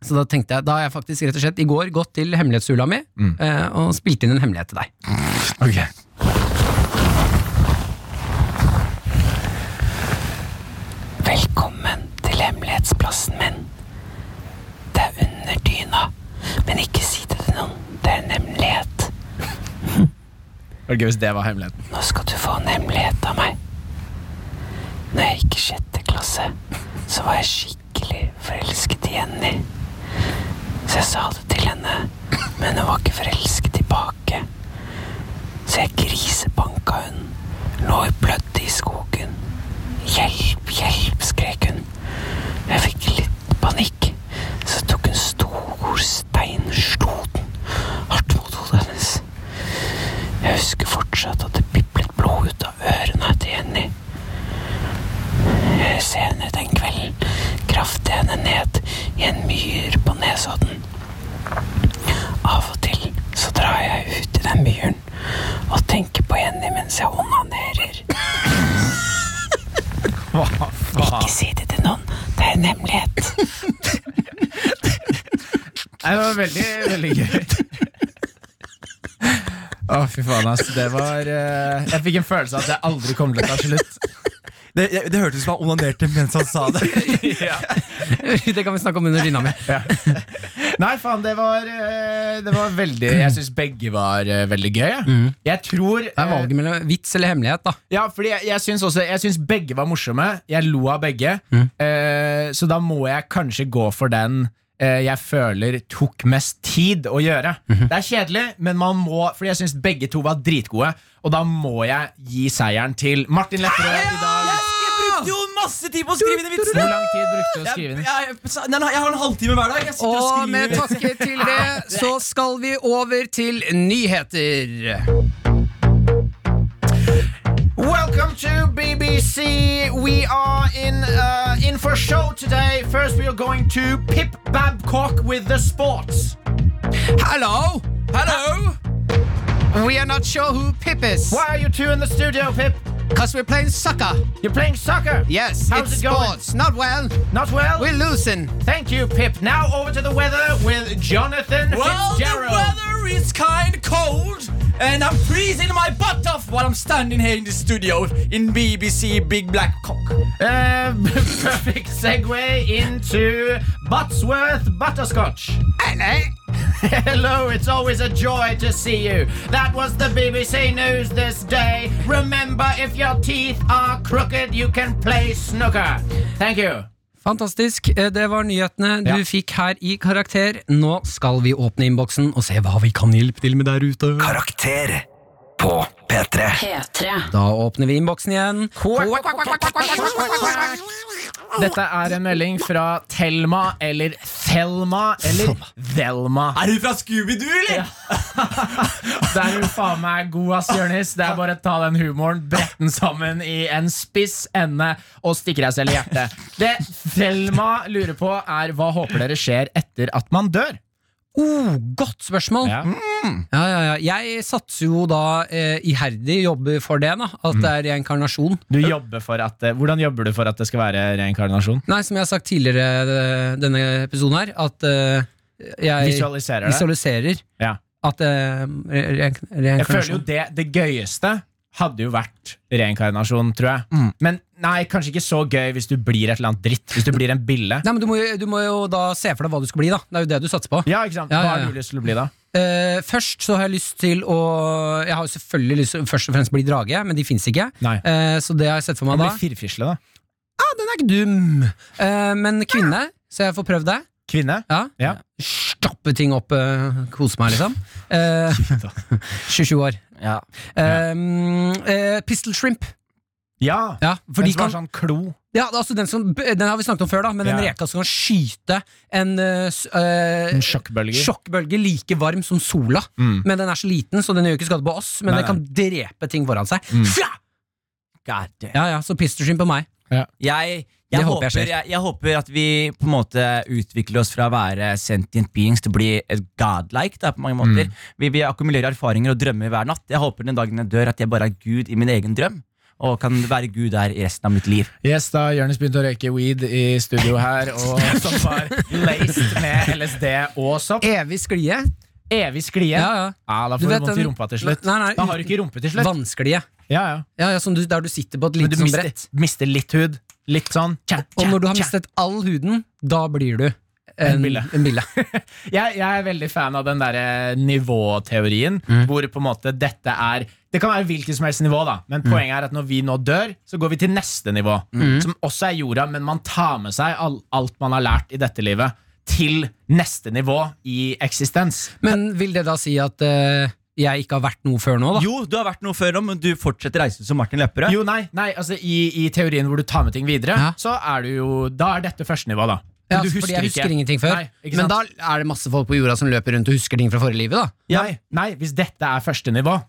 Speaker 2: Så da tenkte jeg, da har jeg faktisk rett og slett i går gått til hemmelighetshula mi
Speaker 5: Mm.
Speaker 2: eh, og spilt inn en hemmelighet til deg. Velkommen til hemmelighetsplassen min. Det er under dyna, men ikke si det til noen. Det er en hemmelighet.
Speaker 5: Det var gøy hvis det var hemmeligheten.
Speaker 2: Nå skal du få en hemmelighet av meg. Når jeg gikk i sjette klasse, så var jeg skikkelig forelsket i Jenny. Så jeg sa det til henne, men hun var ikke forelsket tilbake. Så jeg grisebanka hun. Lå og blødde i skogen. Hjelp, hjelp, skrek hun. Jeg fikk litt panikk. Så tok hun stor stein, slo den hardt mot hodet hennes. Jeg husker fortsatt at det piplet blod ut av ørene til Jenny. Eh, Senere den kvelden kraftet jeg henne ned i en myr på Nesodden. Av og til så drar jeg ut i den myren og tenker på Jenny mens jeg onanerer. Ikke si det til noen, det er en hemmelighet.
Speaker 5: Nei, det var veldig, veldig gøy. Å, fy faen, ass. Det var eh, Jeg fikk en følelse av at jeg aldri kommer til å ta slutt.
Speaker 6: Det, det hørtes ut som han onanerte mens han sa det.
Speaker 2: Det kan vi snakke om under dyna mi.
Speaker 5: Nei, faen, det var, eh, det var veldig Jeg syns begge var eh, veldig gøy. jeg. Jeg tror
Speaker 2: Mm. Det er
Speaker 5: eh,
Speaker 2: valget mellom vits eller hemmelighet, da.
Speaker 5: Ja, fordi jeg, jeg syns også Jeg syns begge var morsomme. Jeg lo av begge. Eh, så da må jeg kanskje gå for den eh, jeg føler tok mest tid å gjøre. Det er kjedelig, men man må Fordi jeg syns begge to var dritgode, og da må jeg gi seieren til Martin Lepperød i dag.
Speaker 6: Jeg brukte jo masse tid på å skrive inn i
Speaker 5: Hvor
Speaker 6: vitsene!
Speaker 5: lang tid brukte du å skrive den?
Speaker 6: Jeg, jeg, nei, nei, jeg har en halvtime hver dag. Jeg sitter og
Speaker 2: Og med
Speaker 6: skriver
Speaker 2: takke til det, så skal vi over til nyheter.
Speaker 5: Welcome to BBC. We are in uh, in for show today. First, we are going to Pip Babcock with the sports.
Speaker 2: Hello! Hello! We are not sure who Pip is.
Speaker 5: Why are you two in the studio, Pip?
Speaker 2: Because we're playing soccer.
Speaker 5: You're playing soccer.
Speaker 2: Yes,
Speaker 5: How's
Speaker 2: it's
Speaker 5: it going?
Speaker 2: sports. Not well.
Speaker 5: Not well.
Speaker 2: We're losing.
Speaker 5: Thank you, Pip. Now over to the weather with Jonathan
Speaker 6: Well, the
Speaker 5: Fitzgerald.
Speaker 6: weather is kind cold, and I'm freezing my butt off while I'm standing here in the studio in BBC Big Black Cock.
Speaker 5: Uh, perfect segue into Buttsworth Butterscotch. Hello. Hello, it's always a joy to see you. That was the BBC News this day. Remember, if your teeth are crooked, you can play snooker. Thank you.
Speaker 2: Fantastisk. Eh, Det var nyhetene du
Speaker 5: Ja.
Speaker 2: fikk her i Karakter. Nå skal vi åpne innboksen og se hva vi kan hjelpe til med der ute.
Speaker 4: Karakter på P3.
Speaker 8: P3.
Speaker 2: Da åpner vi innboksen igjen.
Speaker 5: Dette er en melding fra Thelma eller Thelma eller Velma.
Speaker 6: Er du fra Scooby-Doo, eller?
Speaker 5: Der hun faen meg er god, ass, Jonis. Det er bare å ta den humoren, brette den sammen i en spiss ende og stikke deg selv i hjertet. Det Thelma lurer på, er hva håper dere skjer etter at man dør?
Speaker 2: Oh, godt spørsmål!
Speaker 5: Ja.
Speaker 2: Ja, ja, ja. Jeg satser jo da eh, iherdig jobber for det, da.
Speaker 5: Mm.
Speaker 2: At det er reinkarnasjon.
Speaker 5: Du jobber for at, det- hvordan jobber du for at det skal være reinkarnasjon?
Speaker 2: Nei, som jeg har sagt tidligere eh, denne episoden her, at eh, jeg
Speaker 5: Visualiserer det?
Speaker 2: visualiserer
Speaker 5: Ja.
Speaker 2: at eh, re- re-
Speaker 5: Jeg føler jo
Speaker 2: reinkarnasjon
Speaker 5: det, det gøyeste hadde jo vært reinkarnasjon, tror jeg. Men nei, kanskje ikke så gøy hvis du blir et eller annet dritt. Hvis du blir en bille.
Speaker 2: Nei, men du må, jo, du må jo da se for deg hva du skal bli, da. Det er jo det du satser på.
Speaker 5: Ja, ikke sant?
Speaker 2: Ja,
Speaker 5: Hva
Speaker 2: ja,
Speaker 5: har
Speaker 2: ja.
Speaker 5: du lyst til å bli da?
Speaker 2: Eh, først så har jeg lyst til å Jeg har jo selvfølgelig lyst til å først og fremst bli drage, men de fins ikke.
Speaker 5: Nei.
Speaker 2: Eh, så det har jeg sett for meg da.
Speaker 5: blir firfisle, da.
Speaker 2: Ja, den er ikke dum! Eh, men kvinne, så jeg får prøvd det.
Speaker 5: Kvinne.
Speaker 2: Ja.
Speaker 5: Ja.
Speaker 2: Stappe ting opp, eh, kose meg, liksom. Eh, 27 år.
Speaker 6: Ja.
Speaker 2: Eh, eh, pistol shrimp.
Speaker 5: Ja.
Speaker 2: Ja, for
Speaker 5: Den
Speaker 2: de
Speaker 5: som
Speaker 2: kan,
Speaker 5: har sånn klo.
Speaker 2: ja, altså den, som, den har vi snakket om før, da, men den
Speaker 5: Ja.
Speaker 2: reka som kan skyte en eh, s- eh,
Speaker 5: En sjokkbølge.
Speaker 2: sjokkbølge like varm som sola.
Speaker 5: Mm.
Speaker 2: Men den er så liten, så den gjør ikke skade på oss, men
Speaker 5: Nei,
Speaker 2: den kan drepe ting foran seg.
Speaker 5: Mm.
Speaker 2: Fja!
Speaker 6: God damn.
Speaker 2: Ja, ja, så pistol shrimp på meg.
Speaker 6: Jeg,
Speaker 2: Det
Speaker 6: jeg,
Speaker 2: håper
Speaker 6: håper,
Speaker 2: jeg skjer.
Speaker 6: jeg, jeg håper at vi på en måte utvikler oss fra å være sentient beings til å bli et godlike. Da, på
Speaker 2: Mm.
Speaker 6: mange måter vi, vi akkumulerer erfaringer og drømmer hver natt. Jeg håper den dagen jeg dør, at jeg bare er Gud i min egen drøm. Og kan være Gud der i resten av mitt liv.
Speaker 5: Yes, da Jonis begynte å røyke weed i studio her, og som var laced med LSD og sopp.
Speaker 2: Evig sklie.
Speaker 5: Evig sklie.
Speaker 2: Ja,
Speaker 5: Ja,
Speaker 2: ja.
Speaker 5: da
Speaker 2: Du
Speaker 5: får du
Speaker 2: vet
Speaker 5: vondt i
Speaker 2: den-
Speaker 5: rumpa til slutt.
Speaker 2: Nei, nei,
Speaker 5: Da har du ikke rumpe til slutt.
Speaker 2: Vannsklie.
Speaker 5: Ja, ja.
Speaker 2: Ja, ja, som du, der du sitter på et
Speaker 5: Men du
Speaker 2: lite sånn
Speaker 5: mister,
Speaker 2: brett.
Speaker 5: mister litt hud. Litt sånn tja,
Speaker 2: Og
Speaker 5: tja,
Speaker 2: når du har
Speaker 5: tja.
Speaker 2: mistet all huden, da blir du en,
Speaker 5: En
Speaker 2: en
Speaker 5: bille.
Speaker 2: bille.
Speaker 5: jeg, jeg er veldig fan av den derre nivåteorien,
Speaker 2: Mm.
Speaker 5: hvor på en måte dette er Det kan være hvilket som helst nivå, da, men
Speaker 2: Mm.
Speaker 5: poenget er at når vi nå dør, så går vi til neste nivå, som også er jorda, men man tar med seg all, alt man har lært i dette livet, til neste nivå i eksistens.
Speaker 2: Men vil det da si at eh, jeg ikke har vært noe før nå, da?
Speaker 6: Jo, du har vært noe før om, men du fortsetter reisen som Martin Lepperød.
Speaker 5: Jo, nei, nei altså i, i teorien hvor du tar med ting videre,
Speaker 2: Ja.
Speaker 5: så er du jo Da er dette første nivå, da.
Speaker 2: Ja,
Speaker 5: Men du
Speaker 2: fordi jeg husker ingenting før.
Speaker 5: Nei, ikke
Speaker 2: men
Speaker 5: sant?
Speaker 2: da er det masse folk på jorda som løper rundt og husker ting fra forrige livet, da.
Speaker 5: Nei, nei, hvis dette er første nivå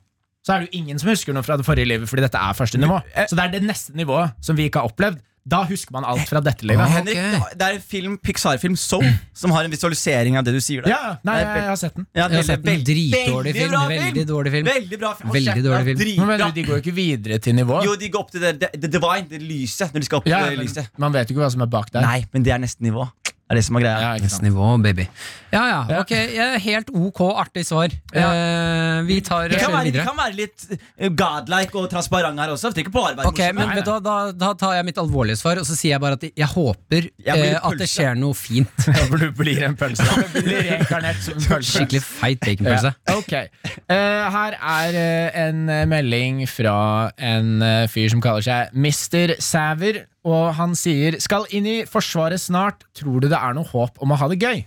Speaker 5: Så er det jo ingen som husker noe fra det forrige livet Fordi dette er første nivå
Speaker 6: eh,
Speaker 5: Så det er det neste nivået som vi ikke har opplevd Da husker man alt fra dette livet
Speaker 2: Åh. Ok.
Speaker 6: Henrik, det har- Det er en film, Pixar-film Soul som har en visualisering av det du sier der.
Speaker 5: Ja, nei,
Speaker 6: Det er
Speaker 5: jeg,
Speaker 6: veldig-
Speaker 5: har sett den
Speaker 6: Ja,
Speaker 2: Jeg har
Speaker 6: veldig-
Speaker 2: sett en
Speaker 6: veldig-
Speaker 2: dritdårlig film,
Speaker 6: bra
Speaker 2: veldig dårlig film.
Speaker 6: Veldig bra film.
Speaker 2: Veldig dårlig film.
Speaker 5: Men vel,
Speaker 6: Dritbra.
Speaker 5: de går jo ikke videre til nivå
Speaker 6: Jo, de går opp til det, det, det divine, det lyset. Når de skal opp
Speaker 5: ja,
Speaker 6: til det
Speaker 5: men,
Speaker 6: lyset
Speaker 5: Man vet jo ikke hva som er bak der
Speaker 6: Nei, men det er neste nivå. Det er det som er greia.
Speaker 5: ja, ikke
Speaker 2: Neste
Speaker 5: sant.
Speaker 2: nivå, baby. Ja Eh, ja, ok. jeg er Helt ok, artig svar. Eh, vi tar
Speaker 6: Vi kan
Speaker 2: kjører
Speaker 6: være, vi
Speaker 2: videre.
Speaker 6: kan være litt eh, godlike og transparent her også. Vi trenger ikke bare være
Speaker 2: Ok, men
Speaker 6: morsomme.
Speaker 2: vet du, hva, da, da tar jeg mitt alvorlige svar, og så sier jeg bare at jeg håper
Speaker 6: Jeg blir
Speaker 2: eh, at det
Speaker 6: pølse.
Speaker 2: skjer noe fint.
Speaker 5: Da blir Du blir en pølse Du blir reinkarnert som en pølse
Speaker 2: Skikkelig feit baconpølse.
Speaker 5: Ja, ok. Eh, her er eh, en eh, melding fra en eh, fyr som kaller seg Mr. Sæver, og han sier Skal inn i Forsvaret snart. Tror du det er noe håp om å ha det gøy?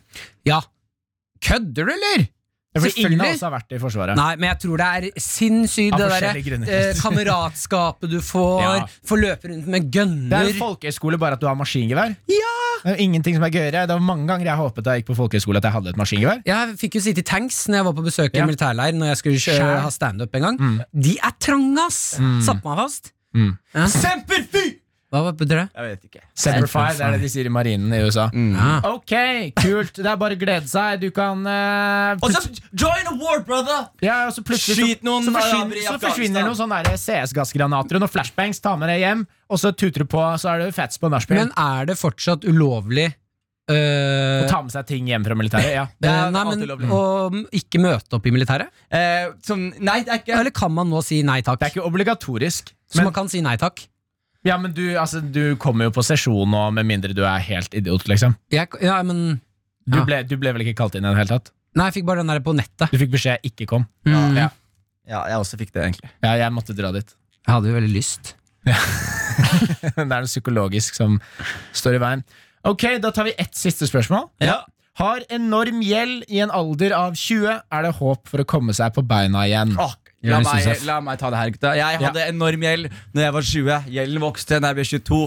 Speaker 2: Ja. Kødder du, eller?!
Speaker 5: Fordi ingen av
Speaker 2: Selvfølgelig!
Speaker 5: oss har vært i Forsvaret.
Speaker 2: Nei, men jeg tror det er sinnssykt,
Speaker 5: Av
Speaker 2: det
Speaker 5: forskjellige
Speaker 2: derre
Speaker 5: grunner.
Speaker 2: eh, kameratskapet du får,
Speaker 5: Ja.
Speaker 2: får løpe rundt med
Speaker 5: Det er
Speaker 2: gønner
Speaker 5: en folkehøyskole, bare at du har maskingevær. Det er jo ingenting som er gøyere. Det var mange ganger jeg håpet da jeg gikk på folkehøyskole at jeg hadde et maskingevær.
Speaker 2: Jeg fikk jo sitte i tanks når jeg var på besøk i
Speaker 5: Ja.
Speaker 2: militærleir Når jeg skulle kjøre,
Speaker 5: Skjær. Mm.
Speaker 2: ha standup en gang. De er trange, ass! Satt meg fast. Ja.
Speaker 6: Semper fy!
Speaker 2: Há uma pedra?
Speaker 6: Jeg vet ikke.
Speaker 5: Semper Fi, det er det de sier i marinen i USA.
Speaker 2: Ah.
Speaker 5: Ok, kult. Det er bare å glede seg. Du kan eh,
Speaker 6: Og så join a war, brother!
Speaker 5: Ja, og så plutselig
Speaker 6: Skyt
Speaker 5: så-
Speaker 6: noen
Speaker 5: så forsvinner,
Speaker 6: araber i
Speaker 5: så
Speaker 6: Afghanistan.
Speaker 5: forsvinner noen sånne der CS-gassgranater og noen flashbangs. Ta med deg hjem, og så tuter du på, så er det fats på nachspiel.
Speaker 2: Men er det fortsatt ulovlig øh,
Speaker 5: Ta med seg ting hjem fra militæret. Ja.
Speaker 6: Det er
Speaker 2: eh, nei,
Speaker 6: alltid
Speaker 2: men,
Speaker 6: ulovlig.
Speaker 2: å mm, ikke møte opp i militæret?
Speaker 6: Eh, sånn, nei, det er ikke
Speaker 2: Eller kan man nå si nei takk?
Speaker 5: Det er ikke obligatorisk.
Speaker 2: Så
Speaker 5: Men,
Speaker 2: man kan si nei takk?
Speaker 5: ja, men du, altså, du kommer jo på sesjon nå, med mindre du er helt idiot, liksom.
Speaker 2: Jeg, ja, men
Speaker 5: Du
Speaker 2: Ja.
Speaker 5: ble, du ble vel ikke kalt inn i det hele tatt?
Speaker 2: Nei, jeg fikk bare den der på nettet.
Speaker 5: Du fikk beskjed 'ikke kom'.
Speaker 2: Mm.
Speaker 5: Ja.
Speaker 6: Ja, jeg også fikk det, egentlig.
Speaker 5: Ja, jeg måtte dra dit.
Speaker 2: Jeg hadde jo veldig lyst.
Speaker 5: det er noe psykologisk som står i veien. Ok, da tar vi ett siste spørsmål.
Speaker 6: Ja.
Speaker 5: Har enorm gjeld i en alder av 20. Er det håp for å komme seg på beina igjen?
Speaker 6: Åh, La
Speaker 2: Jonis
Speaker 6: meg,
Speaker 2: Josef.
Speaker 6: la meg ta det her, gutta. Jeg hadde enorm gjeld Når jeg var 20. Gjelden vokste da jeg ble 22.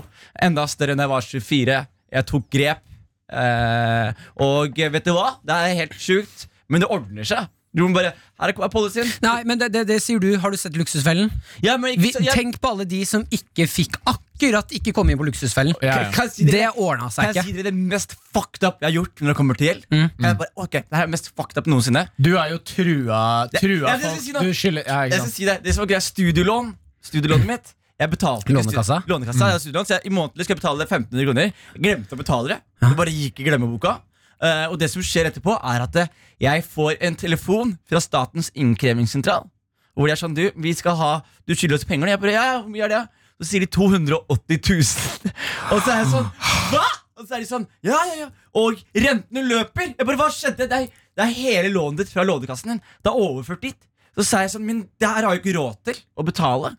Speaker 6: Enda større enn jeg var 24. Jeg tok grep. Eh, og vet du hva? Det er helt sjukt, men det ordner seg. Du må bare Her er policyen.
Speaker 2: Nei, men det, det, det sier du. Har du sett Luksusfellen?
Speaker 6: Ja, men
Speaker 2: Vi,
Speaker 6: ikke, så, jeg,
Speaker 2: Tenk på alle de som ikke fikk akkurat ikke komme inn på Luksusfellen.
Speaker 5: Ja, ja.
Speaker 6: Kan jeg si
Speaker 2: Det
Speaker 6: dere-
Speaker 2: ordna
Speaker 6: kan
Speaker 2: seg
Speaker 6: jeg
Speaker 2: ikke.
Speaker 6: si dere det mest fucked up jeg har gjort når det kommer til gjeld? Jeg bare, ok, Det her er mest fucked up noensinne.
Speaker 5: Du har jo trua, trua
Speaker 6: jeg skal
Speaker 5: folk
Speaker 6: si noe.
Speaker 5: Du skylder ja, ikke
Speaker 6: Jeg skal
Speaker 5: sant?
Speaker 6: si det, det som var greia, studielån Studielånet mitt Jeg betalte ikke stu-
Speaker 2: Lånekassa?
Speaker 5: Mm.
Speaker 6: Lånekassa, jeg hadde studielån Så jeg, i månedlig skal jeg betale 1500 kroner Jeg glemte å betale det Det bare gikk i glemmeboka Eh, Og det som skjer etterpå er at eh, Jeg får en telefon fra statens innkrevingssentral Hvor det er sånn, du, vi skal ha Du skylder oss penger Og jeg bare, ja, ja, hvor mye er det? Så sier de 280 000 Og så er jeg sånn, hva? Og så er de sånn, ja, ja, ja Og rentene løper Jeg bare, hva skjedde? Nei, Det er hele lånet ditt fra lånekassen din. Det er overført dit. Så sa jeg sånn, men det her har jeg jo ikke råd til å betale.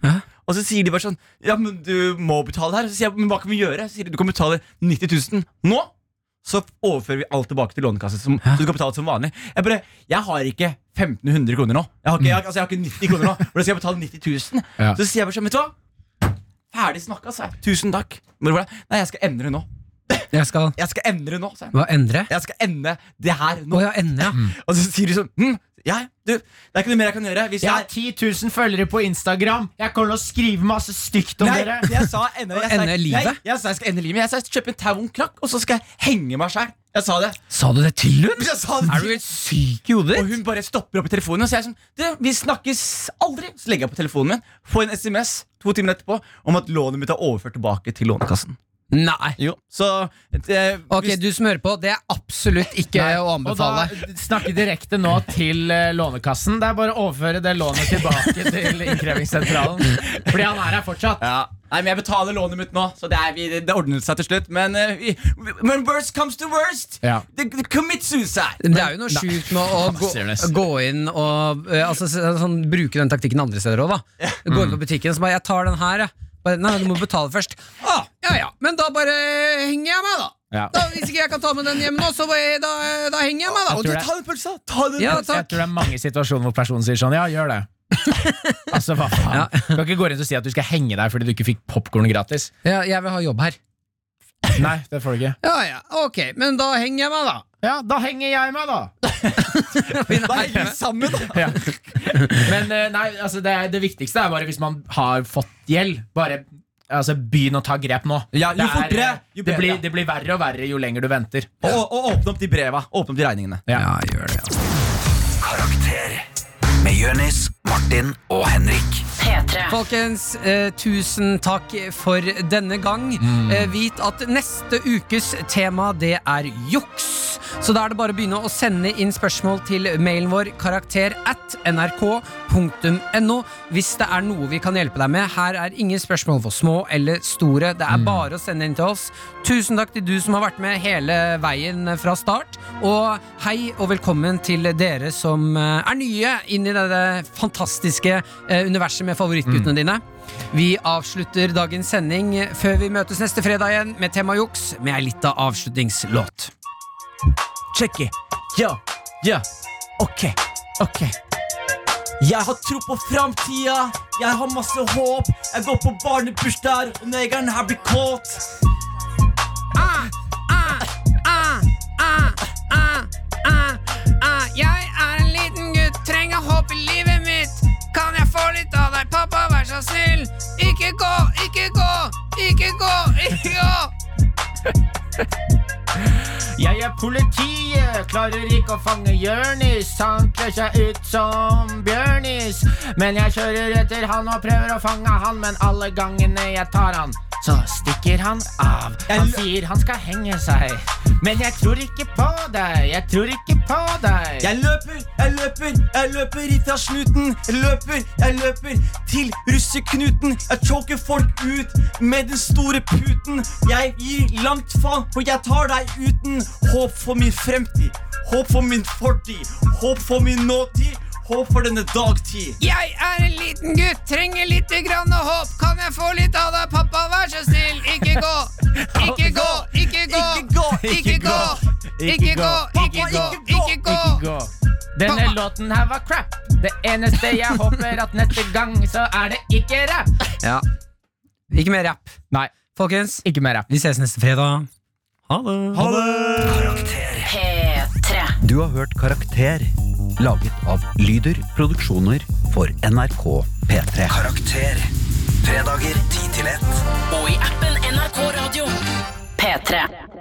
Speaker 6: Og så sier de bare sånn, ja, men du må betale det her. Så sier jeg, men hva kan vi gjøre? Så sier de, du kan betale 90 000 nå. Så overfører vi alt tilbake til lånekassen, som, så du kan betale som vanlig. Jeg bare, jeg har ikke 1500 kroner nå. Jeg har ikke, jeg,
Speaker 2: Mm.
Speaker 6: har- altså, jeg har ikke 90 kroner nå. Hvordan skal jeg betale 90 000?
Speaker 5: Ja.
Speaker 6: Så sier jeg bare sånn, vet du hva? Ferdig snakka, sa jeg. Tusen takk. Bare, bare, Nei, jeg skal endre nå.
Speaker 2: Jeg skal
Speaker 6: Jeg skal endre nå, sa jeg.
Speaker 2: Hva endre?
Speaker 6: Jeg skal ende det her
Speaker 2: Å
Speaker 6: nå.
Speaker 2: ja, ende, ja.
Speaker 6: Og så sier de sånn hm, Ja, du, det er ikke noe mer jeg kan gjøre. Hvis
Speaker 5: Jeg har
Speaker 6: jeg
Speaker 5: 10 000 følgere på Instagram. Jeg kommer til å skrive masse stygt om
Speaker 6: Nei,
Speaker 5: dere.
Speaker 6: jeg sa ende, jeg sa-
Speaker 2: Ende livet?
Speaker 6: Nei, jeg sa jeg skal ende livet. men Jeg sa jeg skal kjøpe en tau og en krakk, og så skal jeg henge meg sjæl. Jeg sa det.
Speaker 2: Sa du det til hun?
Speaker 6: Jeg sa
Speaker 2: Er du
Speaker 6: det til-
Speaker 2: helt syk i hodet
Speaker 6: og
Speaker 2: ditt?
Speaker 6: hun bare stopper opp i telefonen og sier sånn Du, vi snakkes aldri. Så legger jeg på telefonen min, får en SMS to timer etterpå om at lånet mitt er overført tilbake til Lånekassen.
Speaker 2: Nei.
Speaker 6: Jo, så det,
Speaker 2: Ok,
Speaker 6: hvis-
Speaker 2: du smører på. Det er absolutt ikke
Speaker 5: Nei,
Speaker 2: å
Speaker 5: Og da
Speaker 2: anbefale.
Speaker 5: snakke direkte nå til eh, Lånekassen. Det er bare å overføre det lånet tilbake til innkrevingssentralen. Fordi han er her fortsatt.
Speaker 6: Ja. Nei, men Jeg betaler lånet mitt nå, så det, er, vi, det ordnet seg til slutt. Men, eh, vi, men worst comes to worst.
Speaker 5: Ja.
Speaker 6: Det- det- Commit suicide.
Speaker 2: Det er jo noe sjukt med å gå,
Speaker 5: ser det.
Speaker 2: gå inn og eh, altså, så- sånn, bruke den taktikken andre steder òg, da. Gå
Speaker 5: Mm.
Speaker 2: inn på butikken og så bare 'Jeg tar den her, jeg'. Bare, Nei, du må betale først. Å, ja ja. Men da bare henger jeg meg, da.
Speaker 5: Ja.
Speaker 2: da. Hvis ikke jeg kan ta med den hjem nå, så bare, da, da henger jeg meg, da.
Speaker 6: Og du, ta den pølsa! Ta den
Speaker 2: Ja,
Speaker 6: pølsa.
Speaker 5: Jeg
Speaker 2: takk.
Speaker 5: tror det er mange situasjoner hvor personen sier sånn Ja, gjør det. Altså, hva faen?
Speaker 2: Ja.
Speaker 5: Du kan ikke gå rundt og si at du skal henge deg fordi du ikke fikk popkorn gratis.
Speaker 2: Ja, jeg vil ha jobb her.
Speaker 5: Nei, det får du ikke.
Speaker 2: Ja ja, ok. Men da henger jeg meg, da.
Speaker 5: Ja, da henger jeg meg, da!
Speaker 6: Da henger vi sammen, da.
Speaker 5: Ja. Men eh, nei, altså det, det viktigste er bare hvis man har fått gjeld, bare altså, begynn å ta grep nå.
Speaker 6: Ja, jo
Speaker 5: Det er, eh,
Speaker 6: fortere, jo
Speaker 5: det,
Speaker 6: bedre.
Speaker 5: blir, det blir verre og verre jo lenger du venter.
Speaker 6: Og, og åpne opp de breva. Åpne opp de regningene.
Speaker 2: Ja, gjør det. Altså.
Speaker 4: Karakter med Jonis, Martin og Henrik.
Speaker 2: Folkens, eh, tusen takk for denne gang. Eh, vit at neste ukes tema, det er juks. Så da er det bare å begynne å sende inn spørsmål til mailen vår karakter at nrk.no hvis det er noe vi kan hjelpe deg med. Her er ingen spørsmål for små eller store. Det er bare å sende inn til oss. Tusen takk til du som har vært med hele veien fra start. Og hei og velkommen til dere som eh, er nye inn i dette fantastiske eh, universet med favorittguttene dine. Vi avslutter dagens sending før vi møtes neste fredag igjen med tema juks med ei lita avslutningslåt.
Speaker 6: Check it. Ja, ja. Ok, ok. Jeg har tro på framtida, jeg har masse håp. Jeg går på barnebursdag, og negeren her blir kåt.
Speaker 1: Jeg er en liten gutt, trenger håp i livet mitt. Kan jeg få litt av deg, pappa, vær så snill? Ikke gå, ikke gå, ikke gå, ikke gå.
Speaker 5: Jeg er politiet, klarer ikke å fange Jørnis. Han kler seg ut som Bjørnis. Men jeg kjører etter han og prøver å fange han, men alle gangene jeg tar han, så stikker han av. Han
Speaker 6: Jeg-
Speaker 5: sier han skal henge seg, men jeg tror ikke på deg, jeg tror ikke på deg.
Speaker 6: Jeg løper, jeg løper, jeg løper ifra snuten. Jeg løper, jeg løper til russeknuten. Jeg choker folk ut med den store puten. Jeg gir langt faen, for jeg tar deg uten. Håp for min fremtid, håp for min fortid, håp for min nåtid, håp for denne dagtid.
Speaker 1: Jeg er en liten gutt, trenger lite grann håp. Kan jeg få litt av deg, pappa, vær så snill? Ikke gå, ikke gå, ikke gå, ikke gå, ikke gå, ikke gå, ikke gå.
Speaker 5: gå. Denne
Speaker 1: Pappa.
Speaker 5: låten her var crap. Det eneste jeg håper at neste gang, så er det ikke rap.
Speaker 2: Ja. Ikke mer rapp.
Speaker 5: Nei,
Speaker 2: Folkens,
Speaker 5: ikke mer rap.
Speaker 2: vi ses neste fredag.
Speaker 4: Du har hørt Karakter, laget av Lyder Produksjoner for NRK P3. Karakter. Fredager 10 til 1.
Speaker 8: og i appen NRK Radio. P3.